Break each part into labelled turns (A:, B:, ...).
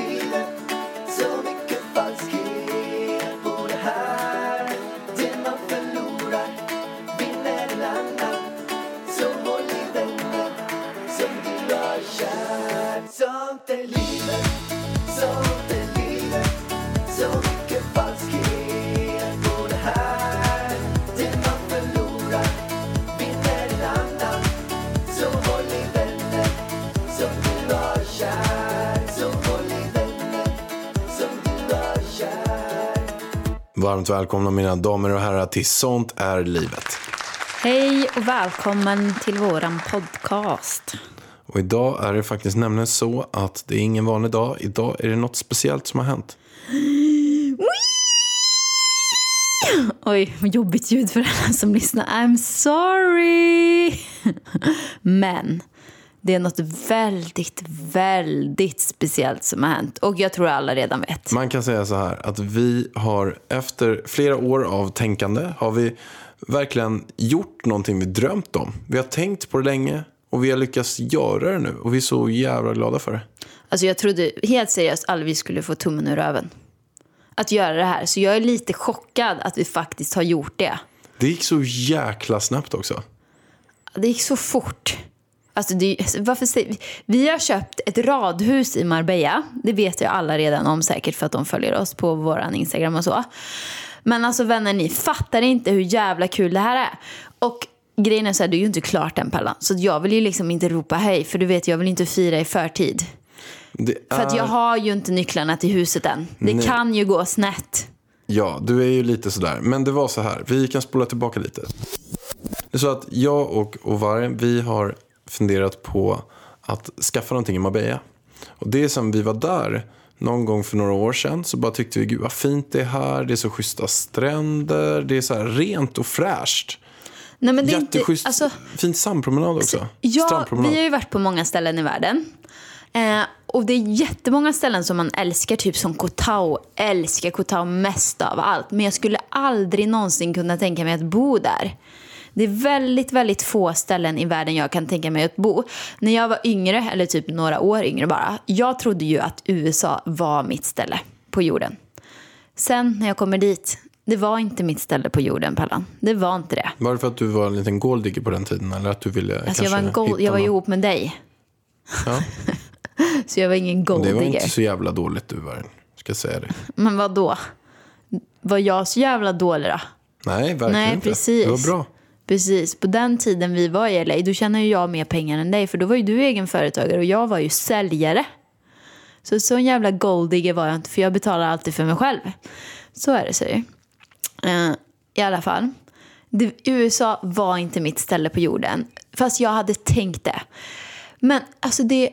A: livet Så mycket falskhet på det här Det man förlorar vinner en annan Så håll i vänner som du har kär Sånt är livet, sånt är livet Så mycket falskhet på det här Det man förlorar vinner en annan Så håll i vänner som du har kär Så håll i vänner som du har kär
B: Varmt välkomna mina damer och herrar till Sånt är livet.
C: Hej och välkommen till våran podcast.
B: Och idag är det faktiskt nämligen så att det är ingen vanlig dag. Idag är det något speciellt som har hänt.
C: Oj, vad jobbigt ljud för alla som lyssnar. I'm sorry! Men det är något väldigt, väldigt speciellt som har hänt. Och jag tror alla redan vet.
B: Man kan säga så här att vi har efter flera år av tänkande har vi verkligen gjort någonting vi drömt om. Vi har tänkt på det länge och vi har lyckats göra det nu och vi är så jävla glada för det.
C: Alltså jag trodde helt seriöst aldrig vi skulle få tummen ur röven. Att göra det här. Så jag är lite chockad att vi faktiskt har gjort det.
B: Det gick så jäkla snabbt också.
C: Det gick så fort. Alltså det, varför säger, vi har köpt ett radhus i Marbella. Det vet ju alla redan om säkert för att de följer oss på vår Instagram och så. Men alltså vänner, ni fattar inte hur jävla kul det här är. Och grejen är så här, det är ju inte klart än Pallan. Så jag vill ju liksom inte ropa hej, för du vet jag vill inte fira i förtid.
B: Det
C: För att jag
B: är-
C: har ju inte nycklarna till huset än. Det
B: Ah. Nej.
C: kan ju gå snett.
B: Ja, du är ju lite sådär. Men det var så här. Vi kan spola tillbaka lite. Det är så att jag och Ovarem, vi har funderat på att skaffa någonting i Marbella. Och det är som vi var där någon gång för några år sedan så bara tyckte vi gud vad fint det är här, det är så schyssta stränder, det är så här rent och fräscht.
C: Nej, men det är inte,
B: Jätteschysst,
C: alltså,
B: fint sandpromenad också.
C: Ja,
B: Strandpromenad.
C: vi har ju varit på många ställen i världen. Eh, och det är jättemånga ställen som man älskar, typ som Koh Tao. Älskar Koh Tao mest av allt. Men jag skulle aldrig någonsin kunna tänka mig att bo där. Det är väldigt, väldigt få ställen i världen jag kan tänka mig att bo. När jag var yngre, eller typ några år yngre bara, jag trodde ju att USA var mitt ställe på jorden. Sen när jag kommer dit, det var inte mitt ställe på jorden, Pallan. Det var inte det.
B: Var det för att du var en liten golddigger på den tiden eller att du ville
C: Alltså
B: kanske
C: jag var, en gold,
B: hitta
C: jag var ju
B: någon-
C: ihop med dig.
B: Ja.
C: Så jag var ingen
B: Det var inte
C: golddigger.
B: så jävla dåligt du var ska jag säga det.
C: Men vad då? Var jag så jävla dålig då?
B: Nej, verkligen
C: Nej,
B: inte.
C: precis.
B: Det var bra.
C: Precis, på den tiden vi var i LA, då tjänade ju jag mer pengar än dig för då var ju du egenföretagare och jag var ju säljare. Så så en jävla golddigger var jag inte för jag betalar alltid för mig själv. Så är det så ju. Eh, I alla fall. Det, USA var inte mitt ställe på jorden. Fast jag hade tänkt det. Men alltså det är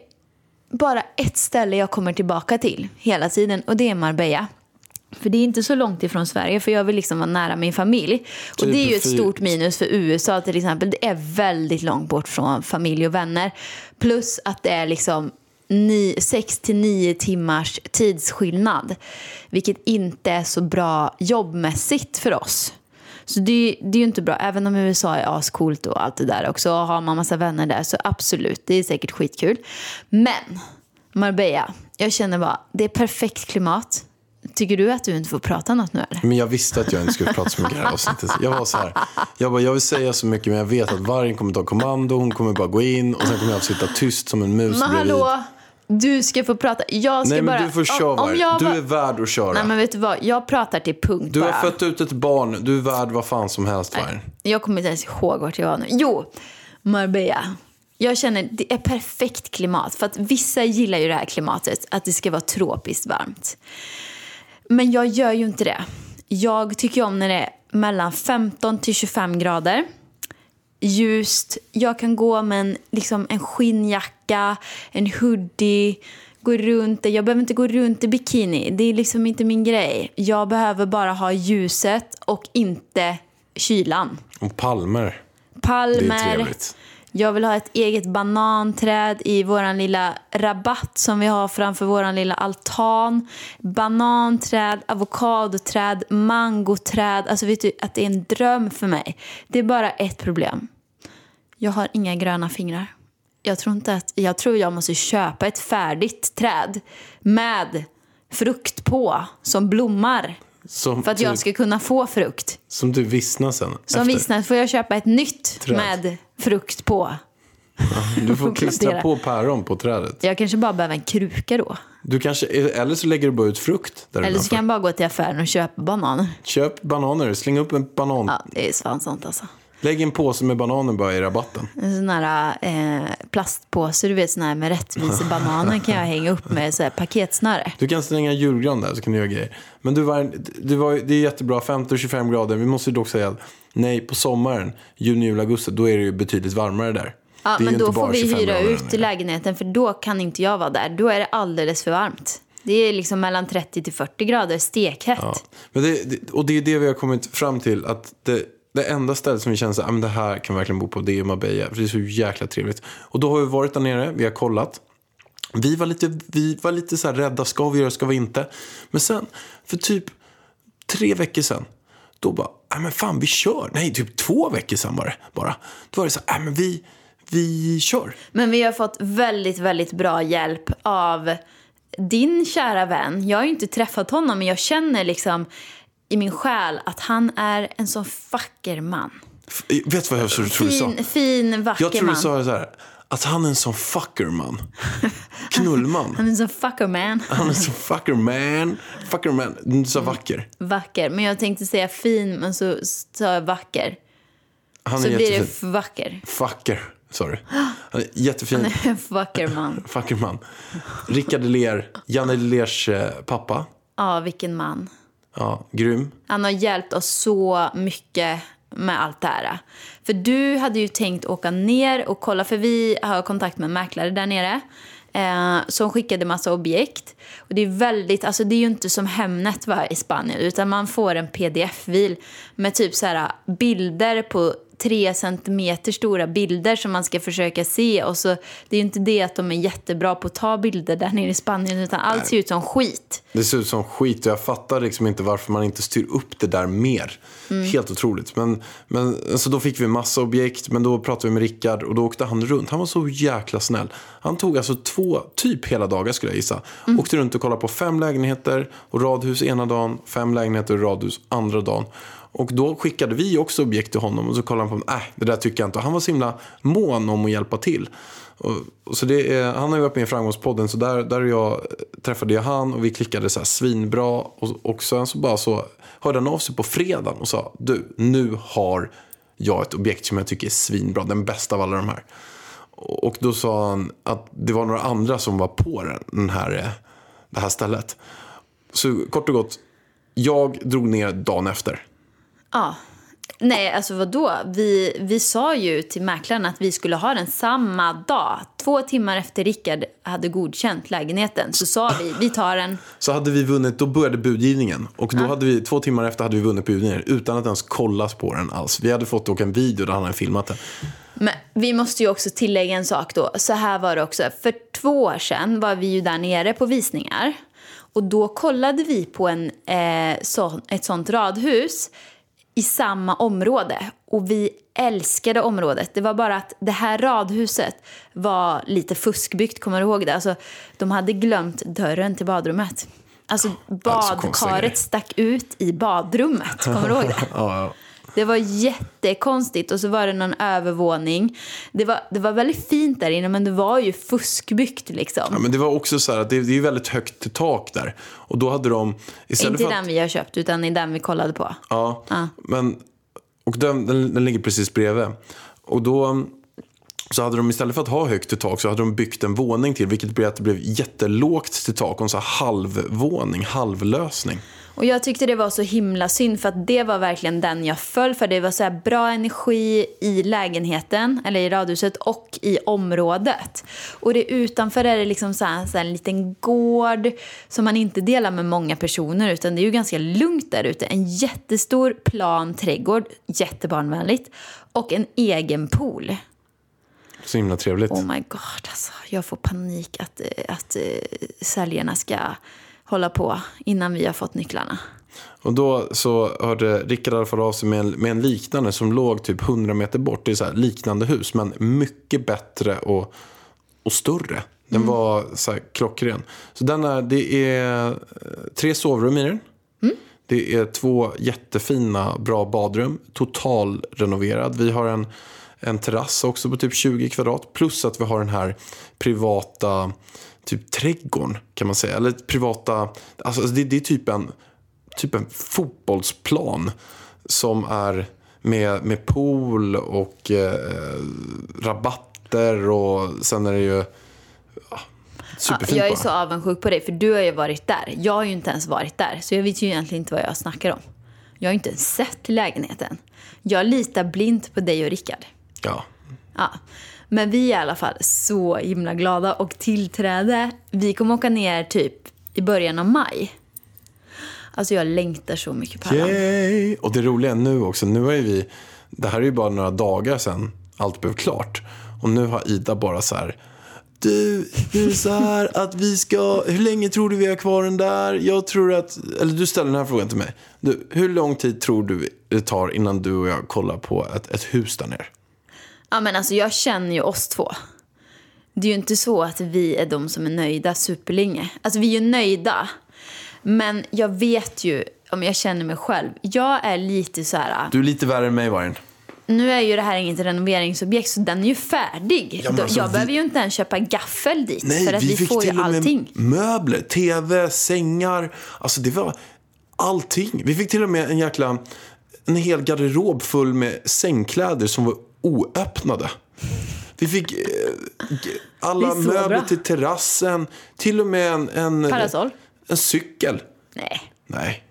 C: bara ett ställe jag kommer tillbaka till hela tiden och det är Marbella. För det är inte så långt ifrån Sverige för jag vill liksom vara nära min familj. Och
B: Typ
C: det är ju ett
B: fyr-
C: stort minus för USA till exempel. Det är väldigt långt bort från familj och vänner. Plus att det är liksom 6 till 9 timmars tidsskillnad. Vilket inte är så bra jobbmässigt för oss. Så det, det är ju inte bra. Även om USA är ascoolt och allt det där också. Och har man massa vänner där så absolut, det är säkert skitkul. Men Marbella, jag känner bara, det är perfekt klimat. Tycker du att du inte får prata något nu eller?
B: Men jag visste att jag inte skulle prata så mycket i det här avsnittet. Jag var så här. Jag bara, jag vill säga så mycket men jag vet att vargen kommer ta kommando. Hon kommer bara gå in och sen kommer jag att sitta tyst som en mus
C: Men
B: bredvid.
C: hallå, du ska få prata. Jag ska
B: Nej men
C: bara...
B: du får köra
C: om, om jag
B: varg. Du
C: bara-
B: är värd att köra.
C: Nej men vet du vad, jag pratar till punkt
B: Du har
C: bara.
B: fött ut ett barn. Du är värd vad fan som helst vargen.
C: Jag kommer inte ens ihåg vart jag var nu. Jo, Marbella. Jag känner det är perfekt klimat. För att vissa gillar ju det här klimatet, att det ska vara tropiskt varmt. Men jag gör ju inte det. Jag tycker om när det är mellan 15 till 25 grader. Ljust. Jag kan gå med en, liksom en skinnjacka, en hoodie. Gå runt. Jag behöver inte gå runt i bikini. Det är liksom inte min grej. Jag behöver bara ha ljuset och inte kylan
B: Och palmer. Det är
C: palmer.
B: trevligt.
C: Jag vill ha ett eget bananträd i våran lilla rabatt som vi har framför våran lilla altan. Bananträd, avokadoträd, mangoträd. Alltså vet du att det är en dröm för mig. Det är bara ett problem. Jag har inga gröna fingrar. Jag tror inte att... Jag tror jag måste köpa ett färdigt träd med frukt på som blommar
B: Som,
C: för att
B: typ-
C: jag ska kunna få frukt.
B: som du vissnar sen.
C: Som
B: efter.
C: vissnat får jag köpa ett nytt
B: Träd.
C: med frukt på.
B: Du får klistra
C: plantera.
B: på päron på trädet.
C: Jag kanske bara behöver en kruka då.
B: Du kanske, eller så lägger du bara ut frukt där
C: Eller så kan jag bara gå till affären och köpa bananer.
B: Köp bananer, släng upp en banan.
C: Ja, det är fan sant alltså.
B: Lägg en påse med bananer bara i rabatten.
C: En sån här eh, plastpåse, du vet sån här med rättvisebananer kan jag hänga upp med så här paketsnöre.
B: Du kan slänga julgran där så kan du göra grejer. Men du var, du var, det är jättebra, 15-25 grader. Vi måste ju dock säga att nej, på sommaren, juni, juli, augusti, då är det ju betydligt varmare där.
C: Ja,
B: det är
C: men
B: ju
C: då
B: inte
C: får
B: bara
C: vi
B: 25
C: hyra
B: grader
C: ut
B: där nere.
C: lägenheten för då kan inte jag vara där. Då är det alldeles för varmt. Det är liksom mellan 30 till 40 grader, stekhett.
B: Ja. Men det, det, och det är det vi har kommit fram till. Att det, det enda stället som vi känner så här, "Ah, men det här kan vi verkligen bo på, det är Marbella. För det är så jäkla trevligt. Och då har vi varit där nere, vi har kollat. Vi var lite, vi var lite så här rädda, ska vi göra, ska vi inte? Men sen, för typ tre veckor sedan, då bara, nej men fan vi kör. Nej, typ två veckor sedan var det bara. Då var det så här, nej men vi, vi kör.
C: Men vi har fått väldigt, väldigt bra hjälp av din kära vän. Jag har ju inte träffat honom, men jag känner liksom i min själ att han är en sån vacker man.
B: F- Vet du vad jag tror du sa?
C: Fin, fin, vacker
B: Jag tror du
C: man.
B: sa så här, att han är en sån fuckerman. Knullman.
C: Han är en sån fucker man.
B: Han är så fucker man. Fucker man. Du är inte så vacker.
C: Vacker. Men jag tänkte säga fin, men så sa jag vacker.
B: Han
C: Så
B: är
C: blir det
B: jättefin.
C: f- vacker.
B: Fucker. Sorry. Han är jättefin.
C: En vacker man.
B: Fucker man. Rickard Ler, Janne Lers pappa.
C: Ja, vilken man.
B: Ja, grym.
C: Han har hjälpt oss så mycket med allt det här. För du hade ju tänkt åka ner och kolla, för vi har kontakt med en mäklare där nere eh, som skickade massa objekt. Och det är väldigt, alltså det är ju inte som Hemnet va, i Spanien utan man får en pdf-fil med typ så här bilder på tre centimeter stora bilder som man ska försöka se och så det är ju inte det att de är jättebra på att ta bilder där nere i Spanien utan allt ser ut som skit.
B: Det ser ut som skit och jag fattar liksom inte varför man inte styr upp det där mer. Helt otroligt. Men, men så då fick vi massa objekt, men då pratade vi med Rickard och då åkte han runt. Han var så jäkla snäll. Han tog alltså två, typ hela dagar skulle jag gissa. Åkte runt och kollade på fem lägenheter och radhus ena dagen, fem lägenheter och radhus andra dagen. Och då skickade vi också objekt till honom och så kollade han på mig. Äh, det där tycker jag inte. Och han var så himla mån om att hjälpa till. Och, och så det är, han har ju varit med i Framgångspodden så där, där jag eh, träffade jag han och vi klickade så här svinbra. Och, och sen så bara så hörde han av sig på fredagen och sa du, nu har jag ett objekt som jag tycker är svinbra, den bästa av alla de här. Och och då sa han att det var några andra som var på den- den här, eh, det här stället. Så kort och gott, jag drog ner dagen efter.
C: Ja. Nej, alltså vadå? Vi, vi sa ju till mäklaren att vi skulle ha den samma dag. Två timmar efter Rickard hade godkänt lägenheten så sa vi vi tar den.
B: Så hade vi vunnit, då började budgivningen. Och då hade vi, två timmar efter hade vi vunnit budgivningen utan att ens kollas på den alls. Vi hade fått åka en video där han hade filmat den.
C: Men vi måste ju också tillägga en sak då. Så här var det också. För två år sedan var vi ju där nere på visningar. Och då kollade vi på en, eh, sån, ett sånt radhus i samma område. Och vi älskade området. Det var bara att det här radhuset var lite fuskbyggt, kommer du ihåg det? Alltså, de hade glömt dörren till badrummet. Alltså
B: alltså, konstiga grejer.
C: badkaret stack ut i badrummet, kommer du ihåg det?
B: Ja,
C: Det var jättekonstigt och så var det någon övervåning. Det var, det var väldigt fint där inne men det var ju fuskbyggt
B: ja,
C: liksom.
B: men det var också så här att det, det är ju väldigt högt till tak där. Och då hade de, istället
C: Inte i
B: för att,
C: den vi har köpt utan i den vi kollade på.
B: Ja, men och den, den, den ligger precis bredvid. Och då um, så hade de istället för att ha högt i tak så hade de byggt en våning till vilket blev att det blev jättelågt till tak och en så här halvvåning, halvlösning.
C: Och jag tyckte det var så himla synd för att det var verkligen den jag föll för. Det var så här bra energi i lägenheten, eller i radhuset och i området. Och det utanför är det liksom så här, så här en liten gård som man inte delar med många personer utan det är ju ganska lugnt där ute. En jättestor plan trädgård, jättebarnvänligt, och en egen pool.
B: Så himla trevligt.
C: Oh my god, alltså. Jag får panik att, eh, att eh, säljarna ska hålla på innan vi har fått nycklarna.
B: Och då så hörde Rickard i alla fall av sig med en, med en liknande som låg typ 100 meter bort. Det är så här liknande hus men mycket bättre och och större. Den var så här klockren. Så den är, det är eh, tre sovrum i den. Det är två jättefina, bra badrum. Totalrenoverad. Vi har en, en terrass också på typ 20 kvadrat. Plus att vi har den här privata typ trädgården kan man säga. Eller privata, alltså det, det är typ en, typ en fotbollsplan. Som är med, med pool och eh, rabatter och sen är det ju ja, superfint
C: jag är
B: bara.
C: så avundsjuk på dig, för du har ju varit där. Jag har ju inte ens varit där, så jag vet ju egentligen inte vad jag snackar om. Jag har ju inte ens sett lägenheten. Jag litar blint på dig och Rickard.
B: Ja.
C: Ja. Men vi är i alla fall så himla glada och tillträde. Vi kommer åka ner typ i början av maj. Alltså jag längtar så mycket på yeah.
B: Yay! Och det roliga är nu också, nu är ju vi, det här är ju bara några dagar sedan allt blev klart. Och nu har Ida bara så här, du, det är så här att vi ska, hur länge tror du vi har kvar den där? Jag tror att, eller du ställer den här frågan till mig. Du, hur lång tid tror du det tar innan du och jag kollar på ett, ett hus där nere?
C: Ja men alltså jag känner ju oss två. Det är ju inte så att vi är de som är nöjda superlänge. Alltså vi är ju nöjda. Men jag vet ju, om jag känner mig själv, jag är lite så här...
B: Du är lite värre än mig Vargen.
C: Nu är ju det här inget renoveringsobjekt så den är ju färdig.
B: Ja, men alltså,
C: jag
B: vi-
C: behöver ju inte ens köpa gaffel dit
B: Nej,
C: för att
B: vi,
C: vi,
B: fick
C: får ju
B: till och med
C: allting.
B: möbler, tv, sängar. Alltså det var allting. Vi fick till och med en jäkla, en hel garderob full med sängkläder som var oöppnade. Vi fick eh, g- alla
C: Det är så
B: möbler
C: bra.
B: till terrassen, till och med en, en,
C: Parasoll?
B: en cykel.
C: Nej.
B: Nej,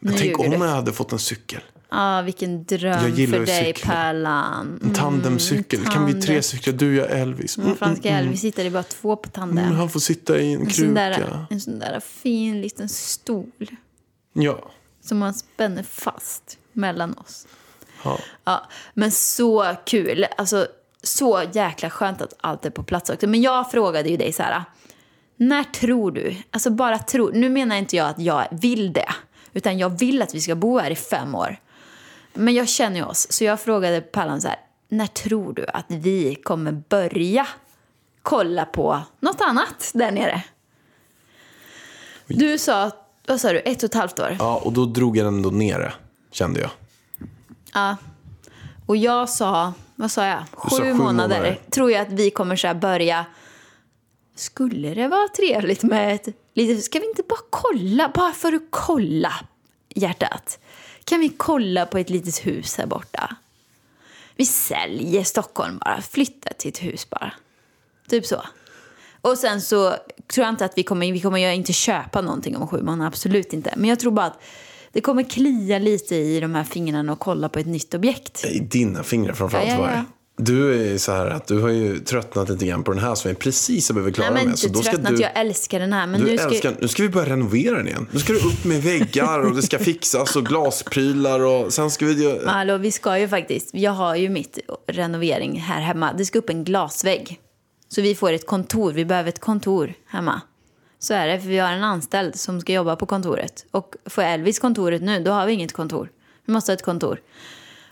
B: men
C: Nu
B: tänk
C: ljuger
B: om
C: du.
B: jag hade fått en cykel.
C: Ah, vilken dröm
B: Jag gillar
C: för
B: ju
C: dig,
B: cykla. Mm,
C: Pärlan.
B: En tandemcykel. kan vi tre cykla? Du, jag, Elvis. Mm.
C: Mm, franska Elvis sitter det är bara två på tanden.
B: Han får sitta i en
C: en, sån
B: kruka.
C: där, en sån där fin liten stol
B: Ja.
C: som man spänner fast mellan oss.
B: ja.
C: Ja, men så kul. Alltså, så jäkla skönt att allt är på plats också. Men jag frågade ju dig så här, när tror du? Alltså bara tro. Nu menar inte jag att jag vill det, utan jag vill att vi ska bo här i fem år. Men jag känner ju oss, så jag frågade Pallan så här, när tror du att vi kommer börja kolla på något annat där nere? Du sa, vad sa du, ett och ett halvt år?
B: Ja, och då drog jag den då ner det, kände jag.
C: Ja. Och jag sa, vad sa jag? Sju,
B: sa sju
C: månader,
B: månader.
C: tror jag att vi kommer så här börja. Skulle det vara trevligt med ett lite, ska vi inte bara kolla, bara för att kolla hjärtat. Kan vi kolla på ett litet hus här borta? Vi säljer Stockholm bara, flyttar till ett hus bara. Typ så. Och sen så tror jag inte att vi kommer, vi kommer ju inte köpa någonting om sju månader, absolut inte. Men jag tror bara att det kommer klia lite i de här fingrarna och kolla på ett nytt objekt.
B: I dina fingrar framförallt.
C: Ja, ja,
B: var
C: ja.
B: det. Du är ju så här att du har ju tröttnat lite grann på den här som vi precis har blivit klara
C: Nej men
B: med. Så
C: inte
B: då ska
C: tröttnat,
B: du,
C: jag älskar den här. Men
B: du
C: nu ska
B: älskar, nu ska vi börja renovera den igen. Nu ska du upp med väggar och det ska fixas och glasprylar och sen ska vi...
C: Men
B: Göra,
C: Hallå, vi ska ju faktiskt, jag har ju mitt renovering här hemma. Det ska upp en glasvägg. Så vi får ett kontor, vi behöver ett kontor hemma. Så är det, för vi har en anställd som ska jobba på kontoret. Och får Elvis kontoret nu, då har vi inget kontor. Vi måste ha ett kontor.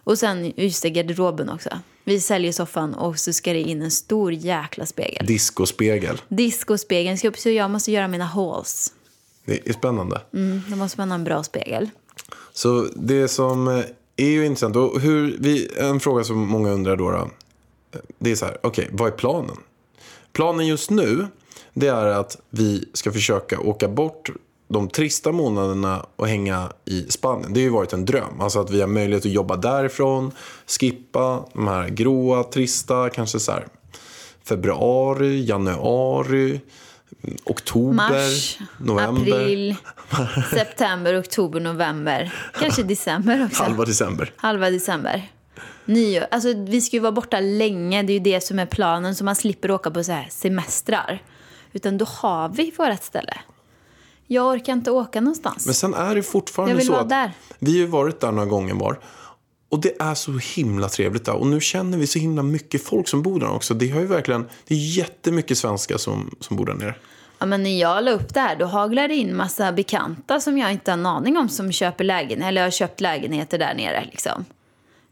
C: Och sen just det, garderoben också. Vi säljer soffan och så ska det in en stor jäkla spegel.
B: diskospegel.
C: Diskospegeln ska upp, så jag måste göra mina hauls.
B: Det är spännande.
C: Mm, då måste man ha en bra spegel.
B: Så det som eh, är ju intressant, och hur vi, en fråga som många undrar då, då eh, det är så här, okej, vad är planen? Planen just nu, det är att vi ska försöka åka bort de trista månaderna och hänga i Spanien. Det har ju varit en dröm. Alltså att vi har möjlighet att jobba därifrån, skippa de här gråa, trista, kanske så här februari, januari, oktober,
C: Mars,
B: november,
C: april, september, oktober, november. Kanske december också.
B: halva december.
C: Halva december. Nyår. Alltså, vi ska ju vara borta länge. Det är ju det som är planen. Så man slipper åka på så här semestrar. Utan då har vi vårt ställe. Jag orkar inte åka någonstans.
B: Men sen är det fortfarande
C: Jag vill
B: så
C: vara
B: att
C: där.
B: vi har ju varit där några gånger var. Och det är så himla trevligt där. Och nu känner vi så himla mycket folk som bor där också. Det har ju verkligen, det är jättemycket svenskar som, som bor där nere.
C: Ja, men när jag la upp det här då haglade det in massa bekanta som jag inte har en aning om som köper lägen eller har köpt lägenheter där nere. Liksom.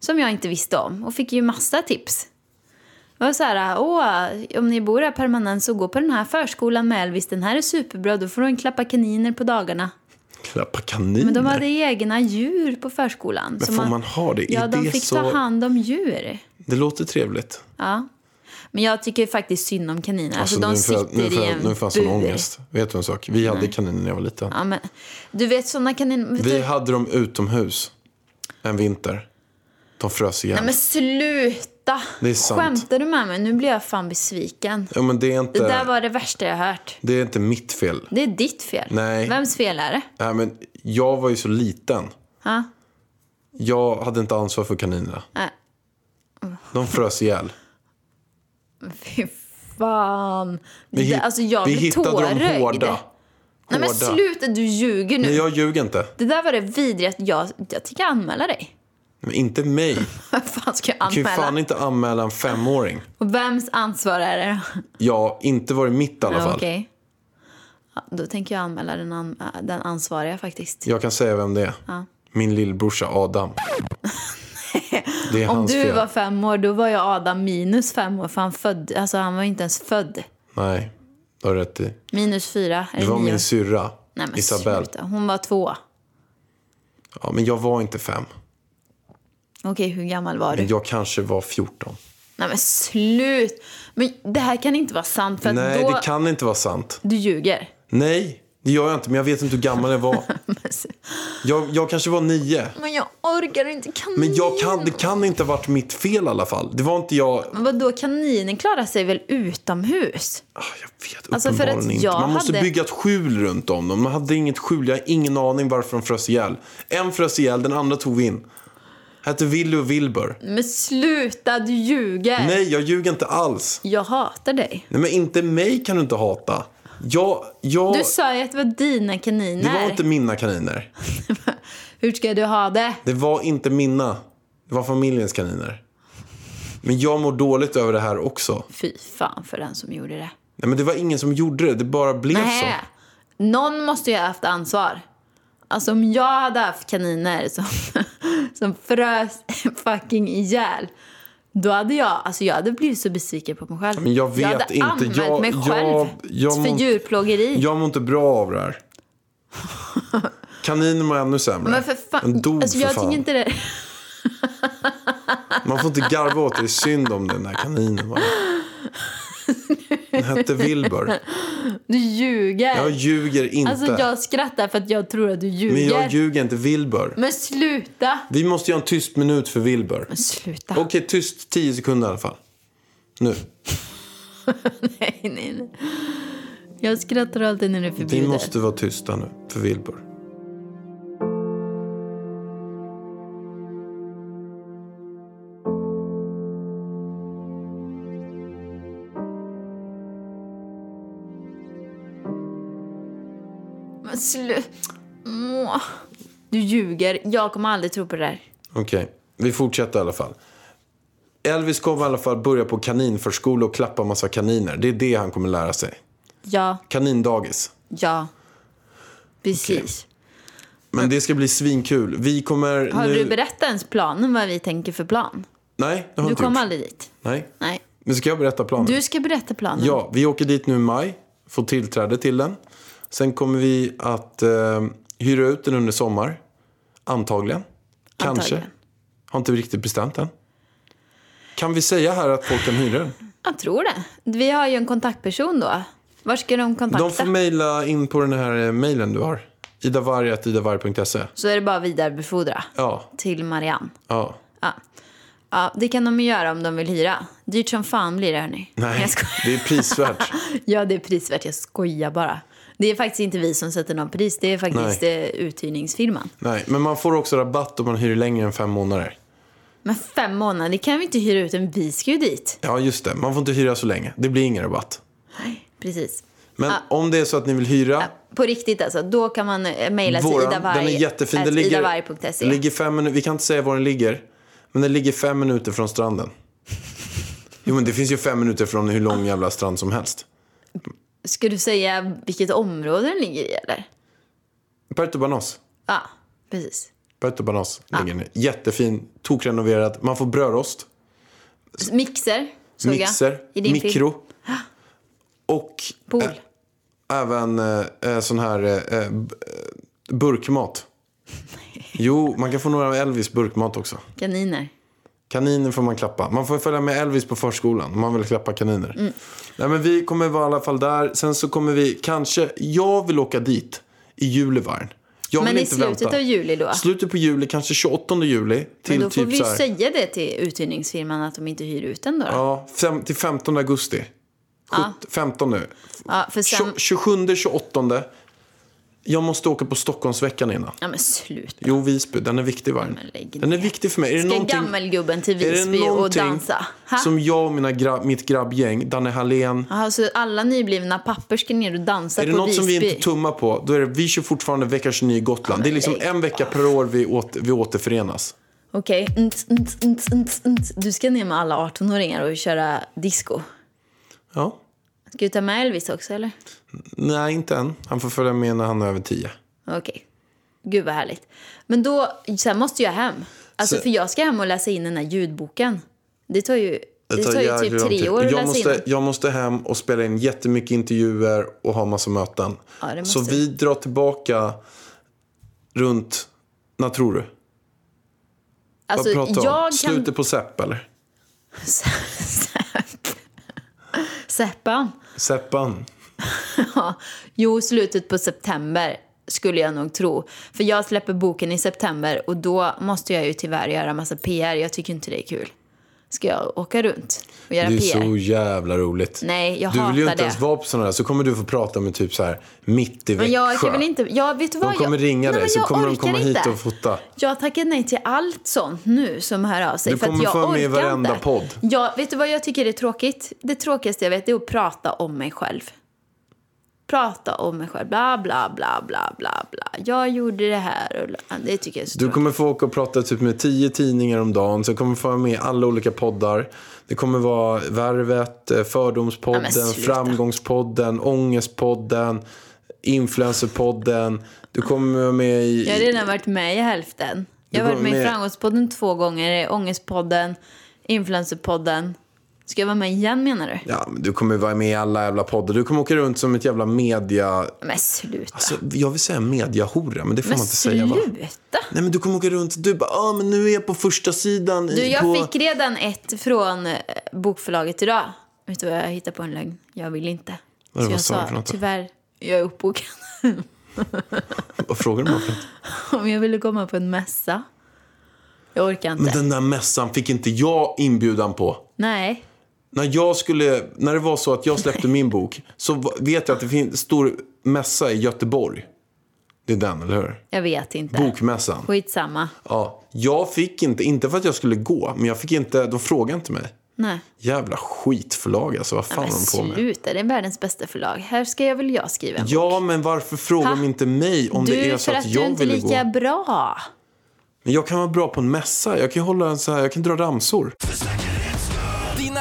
C: Som jag inte visste om och fick ju massa tips. Det var så här, åh, om ni bor här permanent så gå på den här förskolan med Elvis. Den här är superbra, då får de klappa kaniner på dagarna.
B: Klappa kaniner?
C: Men de hade egna djur på förskolan.
B: Men
C: så
B: får man ha det?
C: Ja,
B: Är
C: de
B: det
C: fick
B: så-
C: ta hand om djur.
B: Det låter trevligt.
C: Ja. Men jag tycker faktiskt synd om kaniner. Alltså, de
B: nu får jag-
C: sitter
B: nu får
C: i
B: jag-
C: en
B: Nu får jag sån
C: bur.
B: ångest. Vet du en sak? Vi hade kaniner när jag var liten.
C: Ja, men, du vet såna kaniner... Vet
B: Vi
C: du,
B: hade dem utomhus en vinter. De frös ihjäl.
C: nej men sluta!
B: Det är sant.
C: Skämtar du med mig? Nu blir jag fan besviken.
B: Ja, men det, är inte,
C: Det
B: det,
C: där var det värsta jag hört.
B: är inte mitt fel.
C: Det är ditt fel.
B: Nej.
C: Vems fel är det?
B: Nej, men jag var ju så liten.
C: Ja.
B: Jag hade inte ansvar för kaninerna.
C: Nej.
B: De frös ihjäl.
C: Fy fan.
B: Vi,
C: det,
B: hit-
C: alltså jag
B: vi
C: blir
B: hittade
C: tårögd.
B: dem hårda.
C: Nej men
B: Hårda.
C: sluta, du ljuger nu.
B: Nej, jag ljuger inte.
C: Det där var det vidrigaste. Jag, jag tänker anmäla dig.
B: Men inte mig. Du
C: Vad fan ska jag
B: kan ju
C: anmäla?
B: fan inte anmäla en femåring.
C: Och vems ansvar är det då?
B: Ja, inte var det mitt i alla
C: Ja,
B: fall.
C: Okej. Ja, då tänker jag anmäla den, an, den ansvariga faktiskt.
B: Jag kan säga vem det är. Min lillbrorsa Adam. Det är
C: Om
B: hans
C: du
B: fel.
C: var fem år, då var jag Adam minus fem år. För han, född, alltså, han var ju inte ens född.
B: Nej, du har rätt i.
C: Minus fyra.
B: Det
C: Eller
B: var
C: nio.
B: min syrra,
C: Nej, men
B: Isabel.
C: sluta. Hon var två.
B: Ja, men jag var inte fem.
C: Okej, hur gammal var du?
B: Men jag kanske var 14.
C: Nej men slut! Men det här kan inte vara sant för att
B: Nej,
C: då...
B: det kan inte vara sant.
C: Du ljuger.
B: Nej, det gör jag inte. Men jag vet inte hur gammal jag var. Jag, jag kanske var nio.
C: Men jag orkar inte kanin.
B: Men jag kan, det kan inte ha varit mitt fel i alla fall. Det var inte jag...
C: Men Vadå, kaninen klarar sig väl utomhus?
B: Ah, Jag vet
C: Alltså, för
B: uppenbarligen
C: att
B: inte.
C: jag
B: Man måste
C: hade-
B: bygga ett skjul runt om dem. Man hade inget skjul. Jag har ingen aning varför de frös ihjäl. En frös ihjäl, den andra tog vi in. Hette Willy och Wilbur.
C: Men sluta, du ljuger.
B: Nej, jag ljuger inte alls.
C: Jag hatar dig.
B: Nej, men inte mig kan du inte hata. Jag... jag...
C: Du sa ju att det var dina kaniner.
B: det var inte mina kaniner.
C: Hur ska du ha det?
B: Det var inte mina. Det var familjens kaniner. Men jag mår dåligt över det här också.
C: Fy fan för den som gjorde det.
B: Nej, men det var ingen som gjorde det. Det bara blev
C: Nej.
B: så.
C: Någon måste ju ha haft ansvar. Alltså om jag hade haft kaniner som, som frös fucking ihjäl. Då hade jag, alltså jag hade blivit så besviken på mig själv.
B: Men jag vet
C: hade
B: inte.
C: anmält
B: Jag-
C: mig
B: jag-
C: själv
B: jag
C: för
B: må-
C: djurplågeri.
B: Jag mår inte bra av det här. Kaninen mår ännu sämre.
C: men för fan,
B: Den dog
C: alltså
B: för
C: jag
B: fan.
C: tycker inte det.
B: Man får inte garva åt det. Det är synd om den där kaninen. Bara. Den hette Wilbur.
C: Du ljuger.
B: Jag ljuger inte.
C: alltså jag skrattar för att jag tror att du ljuger.
B: Men jag ljuger inte. Wilbur.
C: Men sluta.
B: Vi måste göra en tyst minut för Wilbur.
C: Men sluta.
B: Okej, tyst. Tio sekunder i alla fall. Nu.
C: Nej, nej, nej. Jag skrattar alltid när du
B: Vi
C: förbjuder.
B: måste vara tysta nu för Wilbur.
C: Men slu... Åh. Du ljuger. Jag kommer aldrig tro på det där.
B: Okej, vi fortsätter i alla fall. Elvis kommer i alla fall börja på kaninförskola och klappa massa kaniner. Det är det han kommer lära sig.
C: Ja,
B: Kanindagis.
C: ja. Precis.
B: Men det ska bli svinkul. Vi kommer
C: Har
B: nu...
C: du berättat ens planen, vad vi tänker för plan?
B: Nej, det har jag
C: Du
B: inte
C: kom
B: gjort.
C: aldrig dit.
B: Nej.
C: Nej.
B: Men ska jag berätta planen?
C: Du ska berätta planen.
B: Ja, vi åker dit nu i maj. Får tillträde till den. Sen kommer vi att eh, hyra ut den under sommar. Antagligen. Kanske.
C: Antagligen.
B: Har inte riktigt bestämt än. Kan vi säga här att folk kan hyra den?
C: Jag tror det. Vi har ju en kontaktperson då. Var ska de kontakta?
B: De får mejla in på den här eh, mejlen du har. idavarg.idavarg.se
C: Så är det bara att vidarebefordra
B: Ja,
C: till Marianne.
B: ja.
C: Ja. ja, det kan de ju göra om de vill hyra. Dyrt som fan blir det, hörni.
B: Nej,
C: Jag skojar.
B: det är prisvärt.
C: Ja, det är prisvärt. Jag skojar bara. Det är faktiskt inte vi som sätter någon pris. Det är faktiskt eh, uthyrningsfirman.
B: Nej, men man får också rabatt om man hyr längre än fem månader.
C: Men fem månader, det kan vi inte hyra ut en. Vi ska ju dit.
B: Ja, just det. Man får inte hyra så länge. Det blir ingen rabatt.
C: Nej, precis.
B: Men om det är så att ni vill hyra
C: På riktigt alltså, då kan man eh, mejla till
B: våran, den är
C: idavarg-
B: jättefin. Den
C: at
B: ligger,
C: idavarg.se.
B: den ligger fem minuter, vi kan inte säga var den ligger, men den ligger fem minuter från stranden. Jo, men det finns ju fem minuter från hur lång jävla strand som helst.
C: Ska du säga vilket område den ligger i eller?
B: Puerto Banos.
C: Ja, precis.
B: Puerto Banos ligger den i. Jättefin, tokrenoverad. Man får brödrost.
C: Mixer, såg jag.
B: mixer,
C: I din film.
B: mikro och
C: Pool.
B: ä- även eh, eh, sån här eh, eh, b- eh, burkmat. Jo, man kan få några av Elvis burkmat också.
C: Kaniner.
B: Kaniner får man klappa. Man får följa med Elvis på förskolan om man vill klappa kaniner.
C: Mm.
B: Nej, men vi kommer vara i alla fall där. Sen så kommer vi kanske... Jag vill åka dit i juli varn. Jag
C: Men
B: vill
C: i
B: inte
C: slutet
B: vänta.
C: av juli då?
B: Slutet på juli, kanske 28 juli. Till
C: Men då får
B: typ
C: vi
B: så
C: ju
B: här,
C: säga det till uthyrningsfirman att de inte hyr ut den då. Ja,
B: Ja, fem, till 15 augusti. Sjut, 15 nu.
C: för sen...
B: 27, 28. Jag måste åka på Stockholmsveckan innan.
C: Ja men sluta.
B: Jo, Visby. Den är viktig varn.
C: men lägg
B: Den är
C: ner.
B: viktig för mig. Är det
C: Ska
B: någonting...
C: gammelgubben till
B: Är det
C: Visby och
B: någonting
C: dansa? Ha?
B: som jag och mina gra- mitt grabbgäng, Danne Hallén,
C: Jaha, så alla nyblivna pappor ska ner och dansa
B: är det
C: på
B: något
C: Visby?
B: som vi inte tummar på, då är det vi kör fortfarande vecka 29 Gotland. Det är liksom en vecka per år vi, åter, vi återförenas.
C: Okej. Nt, nt, nt, nt, nt. Du ska ner med alla 18-åringar och köra disco.
B: Ja.
C: Ska du ta med Elvis också eller?
B: Nej, inte än. Han får följa med när han är över 10.
C: Okej. Gud vad härligt. Men då, sen måste jag hem. Alltså
B: Så-
C: för jag ska hem och läsa in den här ljudboken. Det tar ju, det tar ju
B: jävligt
C: typ
B: lång
C: tre
B: tid.
C: år att
B: jag
C: läsa in
B: måste,
C: den.
B: jag måste hem och spela in jättemycket intervjuer och ha massa möten.
C: Ja, det måste
B: Så
C: du.
B: vi drar tillbaka runt, när tror du?
C: Alltså
B: Vad pratar
C: jag
B: om?
C: kan...
B: Slutet på Sepp eller?
C: Säpp. Säppan.
B: Seppan.
C: Ja. Jo, slutet på september skulle jag nog tro. För jag släpper boken i september och då måste jag ju tyvärr göra massa PR. Jag tycker inte det är kul. Ska jag åka runt och göra
B: Det är
C: PR?
B: så jävla roligt.
C: Nej, jag
B: du vill ju
C: hatar
B: inte
C: det.
B: ens vara på sådana där. Så kommer du få prata med typ så här mitt i Växjö.
C: Men jag kan väl inte... Jag, vet du vad?
B: De kommer
C: jag,
B: ringa
C: Nej,
B: dig
C: men
B: så
C: jag
B: kommer de
C: orkar
B: komma hit
C: inte.
B: och fota.
C: Jag tackar nej till allt sånt nu som hör av sig.
B: Du
C: för att
B: kommer
C: jag
B: få vara med i
C: orkar
B: varenda
C: inte.
B: podd.
C: Jag, vet du vad jag tycker är tråkigt? Det tråkigaste jag vet är att prata om mig själv. Prata om mig själv. Bla, bla, bla, bla, bla, bla. Jag gjorde det här och bla. det tycker jag är så
B: Du
C: tråkigt.
B: kommer få åka och prata typ med tio tidningar om dagen. Så kommer få vara med i alla olika poddar. Det kommer vara Värvet, eh, Fördomspodden,
C: Ja, men sluta.
B: Framgångspodden, Ångestpodden, Influencerpodden. Du kommer vara med i...
C: Jag har redan varit med i hälften. Jag har
B: Du
C: varit med i
B: kommer med-
C: Framgångspodden två gånger, i Ångestpodden, Influencerpodden. Ska jag vara med igen menar du?
B: Ja, men du kommer vara med i alla jävla poddar. Du kommer åka runt som ett jävla media...
C: Men sluta.
B: Alltså, jag vill säga mediahora, men det får
C: men
B: man inte säga va?
C: sluta.
B: Nej men du kommer åka runt du bara, ah, men nu är jag på första sidan i-
C: Du, jag
B: på...
C: fick redan ett från eh, bokförlaget idag. Vet du vad jag hittade på en lögn? Jag vill inte.
B: Vad-
C: Så
B: vad
C: jag
B: sa du för något då?
C: tyvärr, jag är uppbokad.
B: Vad frågar du mig för?
C: Om jag ville komma på en mässa. Jag orkar inte.
B: Men den där mässan fick inte jag inbjudan på.
C: Nej.
B: När jag skulle, när det var så att jag släppte min bok så va- vet jag att det finns stor mässa i Göteborg. Det är den, eller hur?
C: Jag vet inte.
B: Bokmässan.
C: Skitsamma.
B: Ja, jag fick inte, inte för att jag skulle gå, men jag fick inte, de frågade inte mig.
C: Nej.
B: Jävla skitförlag alltså, vad fan
C: Men
B: har de på med?
C: sluta, det är världens bästa förlag. Här ska jag väl jag skriva en bok.
B: Ja, men varför frågar de inte mig om det
C: Du,
B: är så
C: för
B: att
C: att du
B: jag
C: inte är
B: ville gå?
C: lika bra.
B: Men jag kan vara bra på en mässa. Jag kan hålla en så här, jag kan dra ramsor.
D: Dina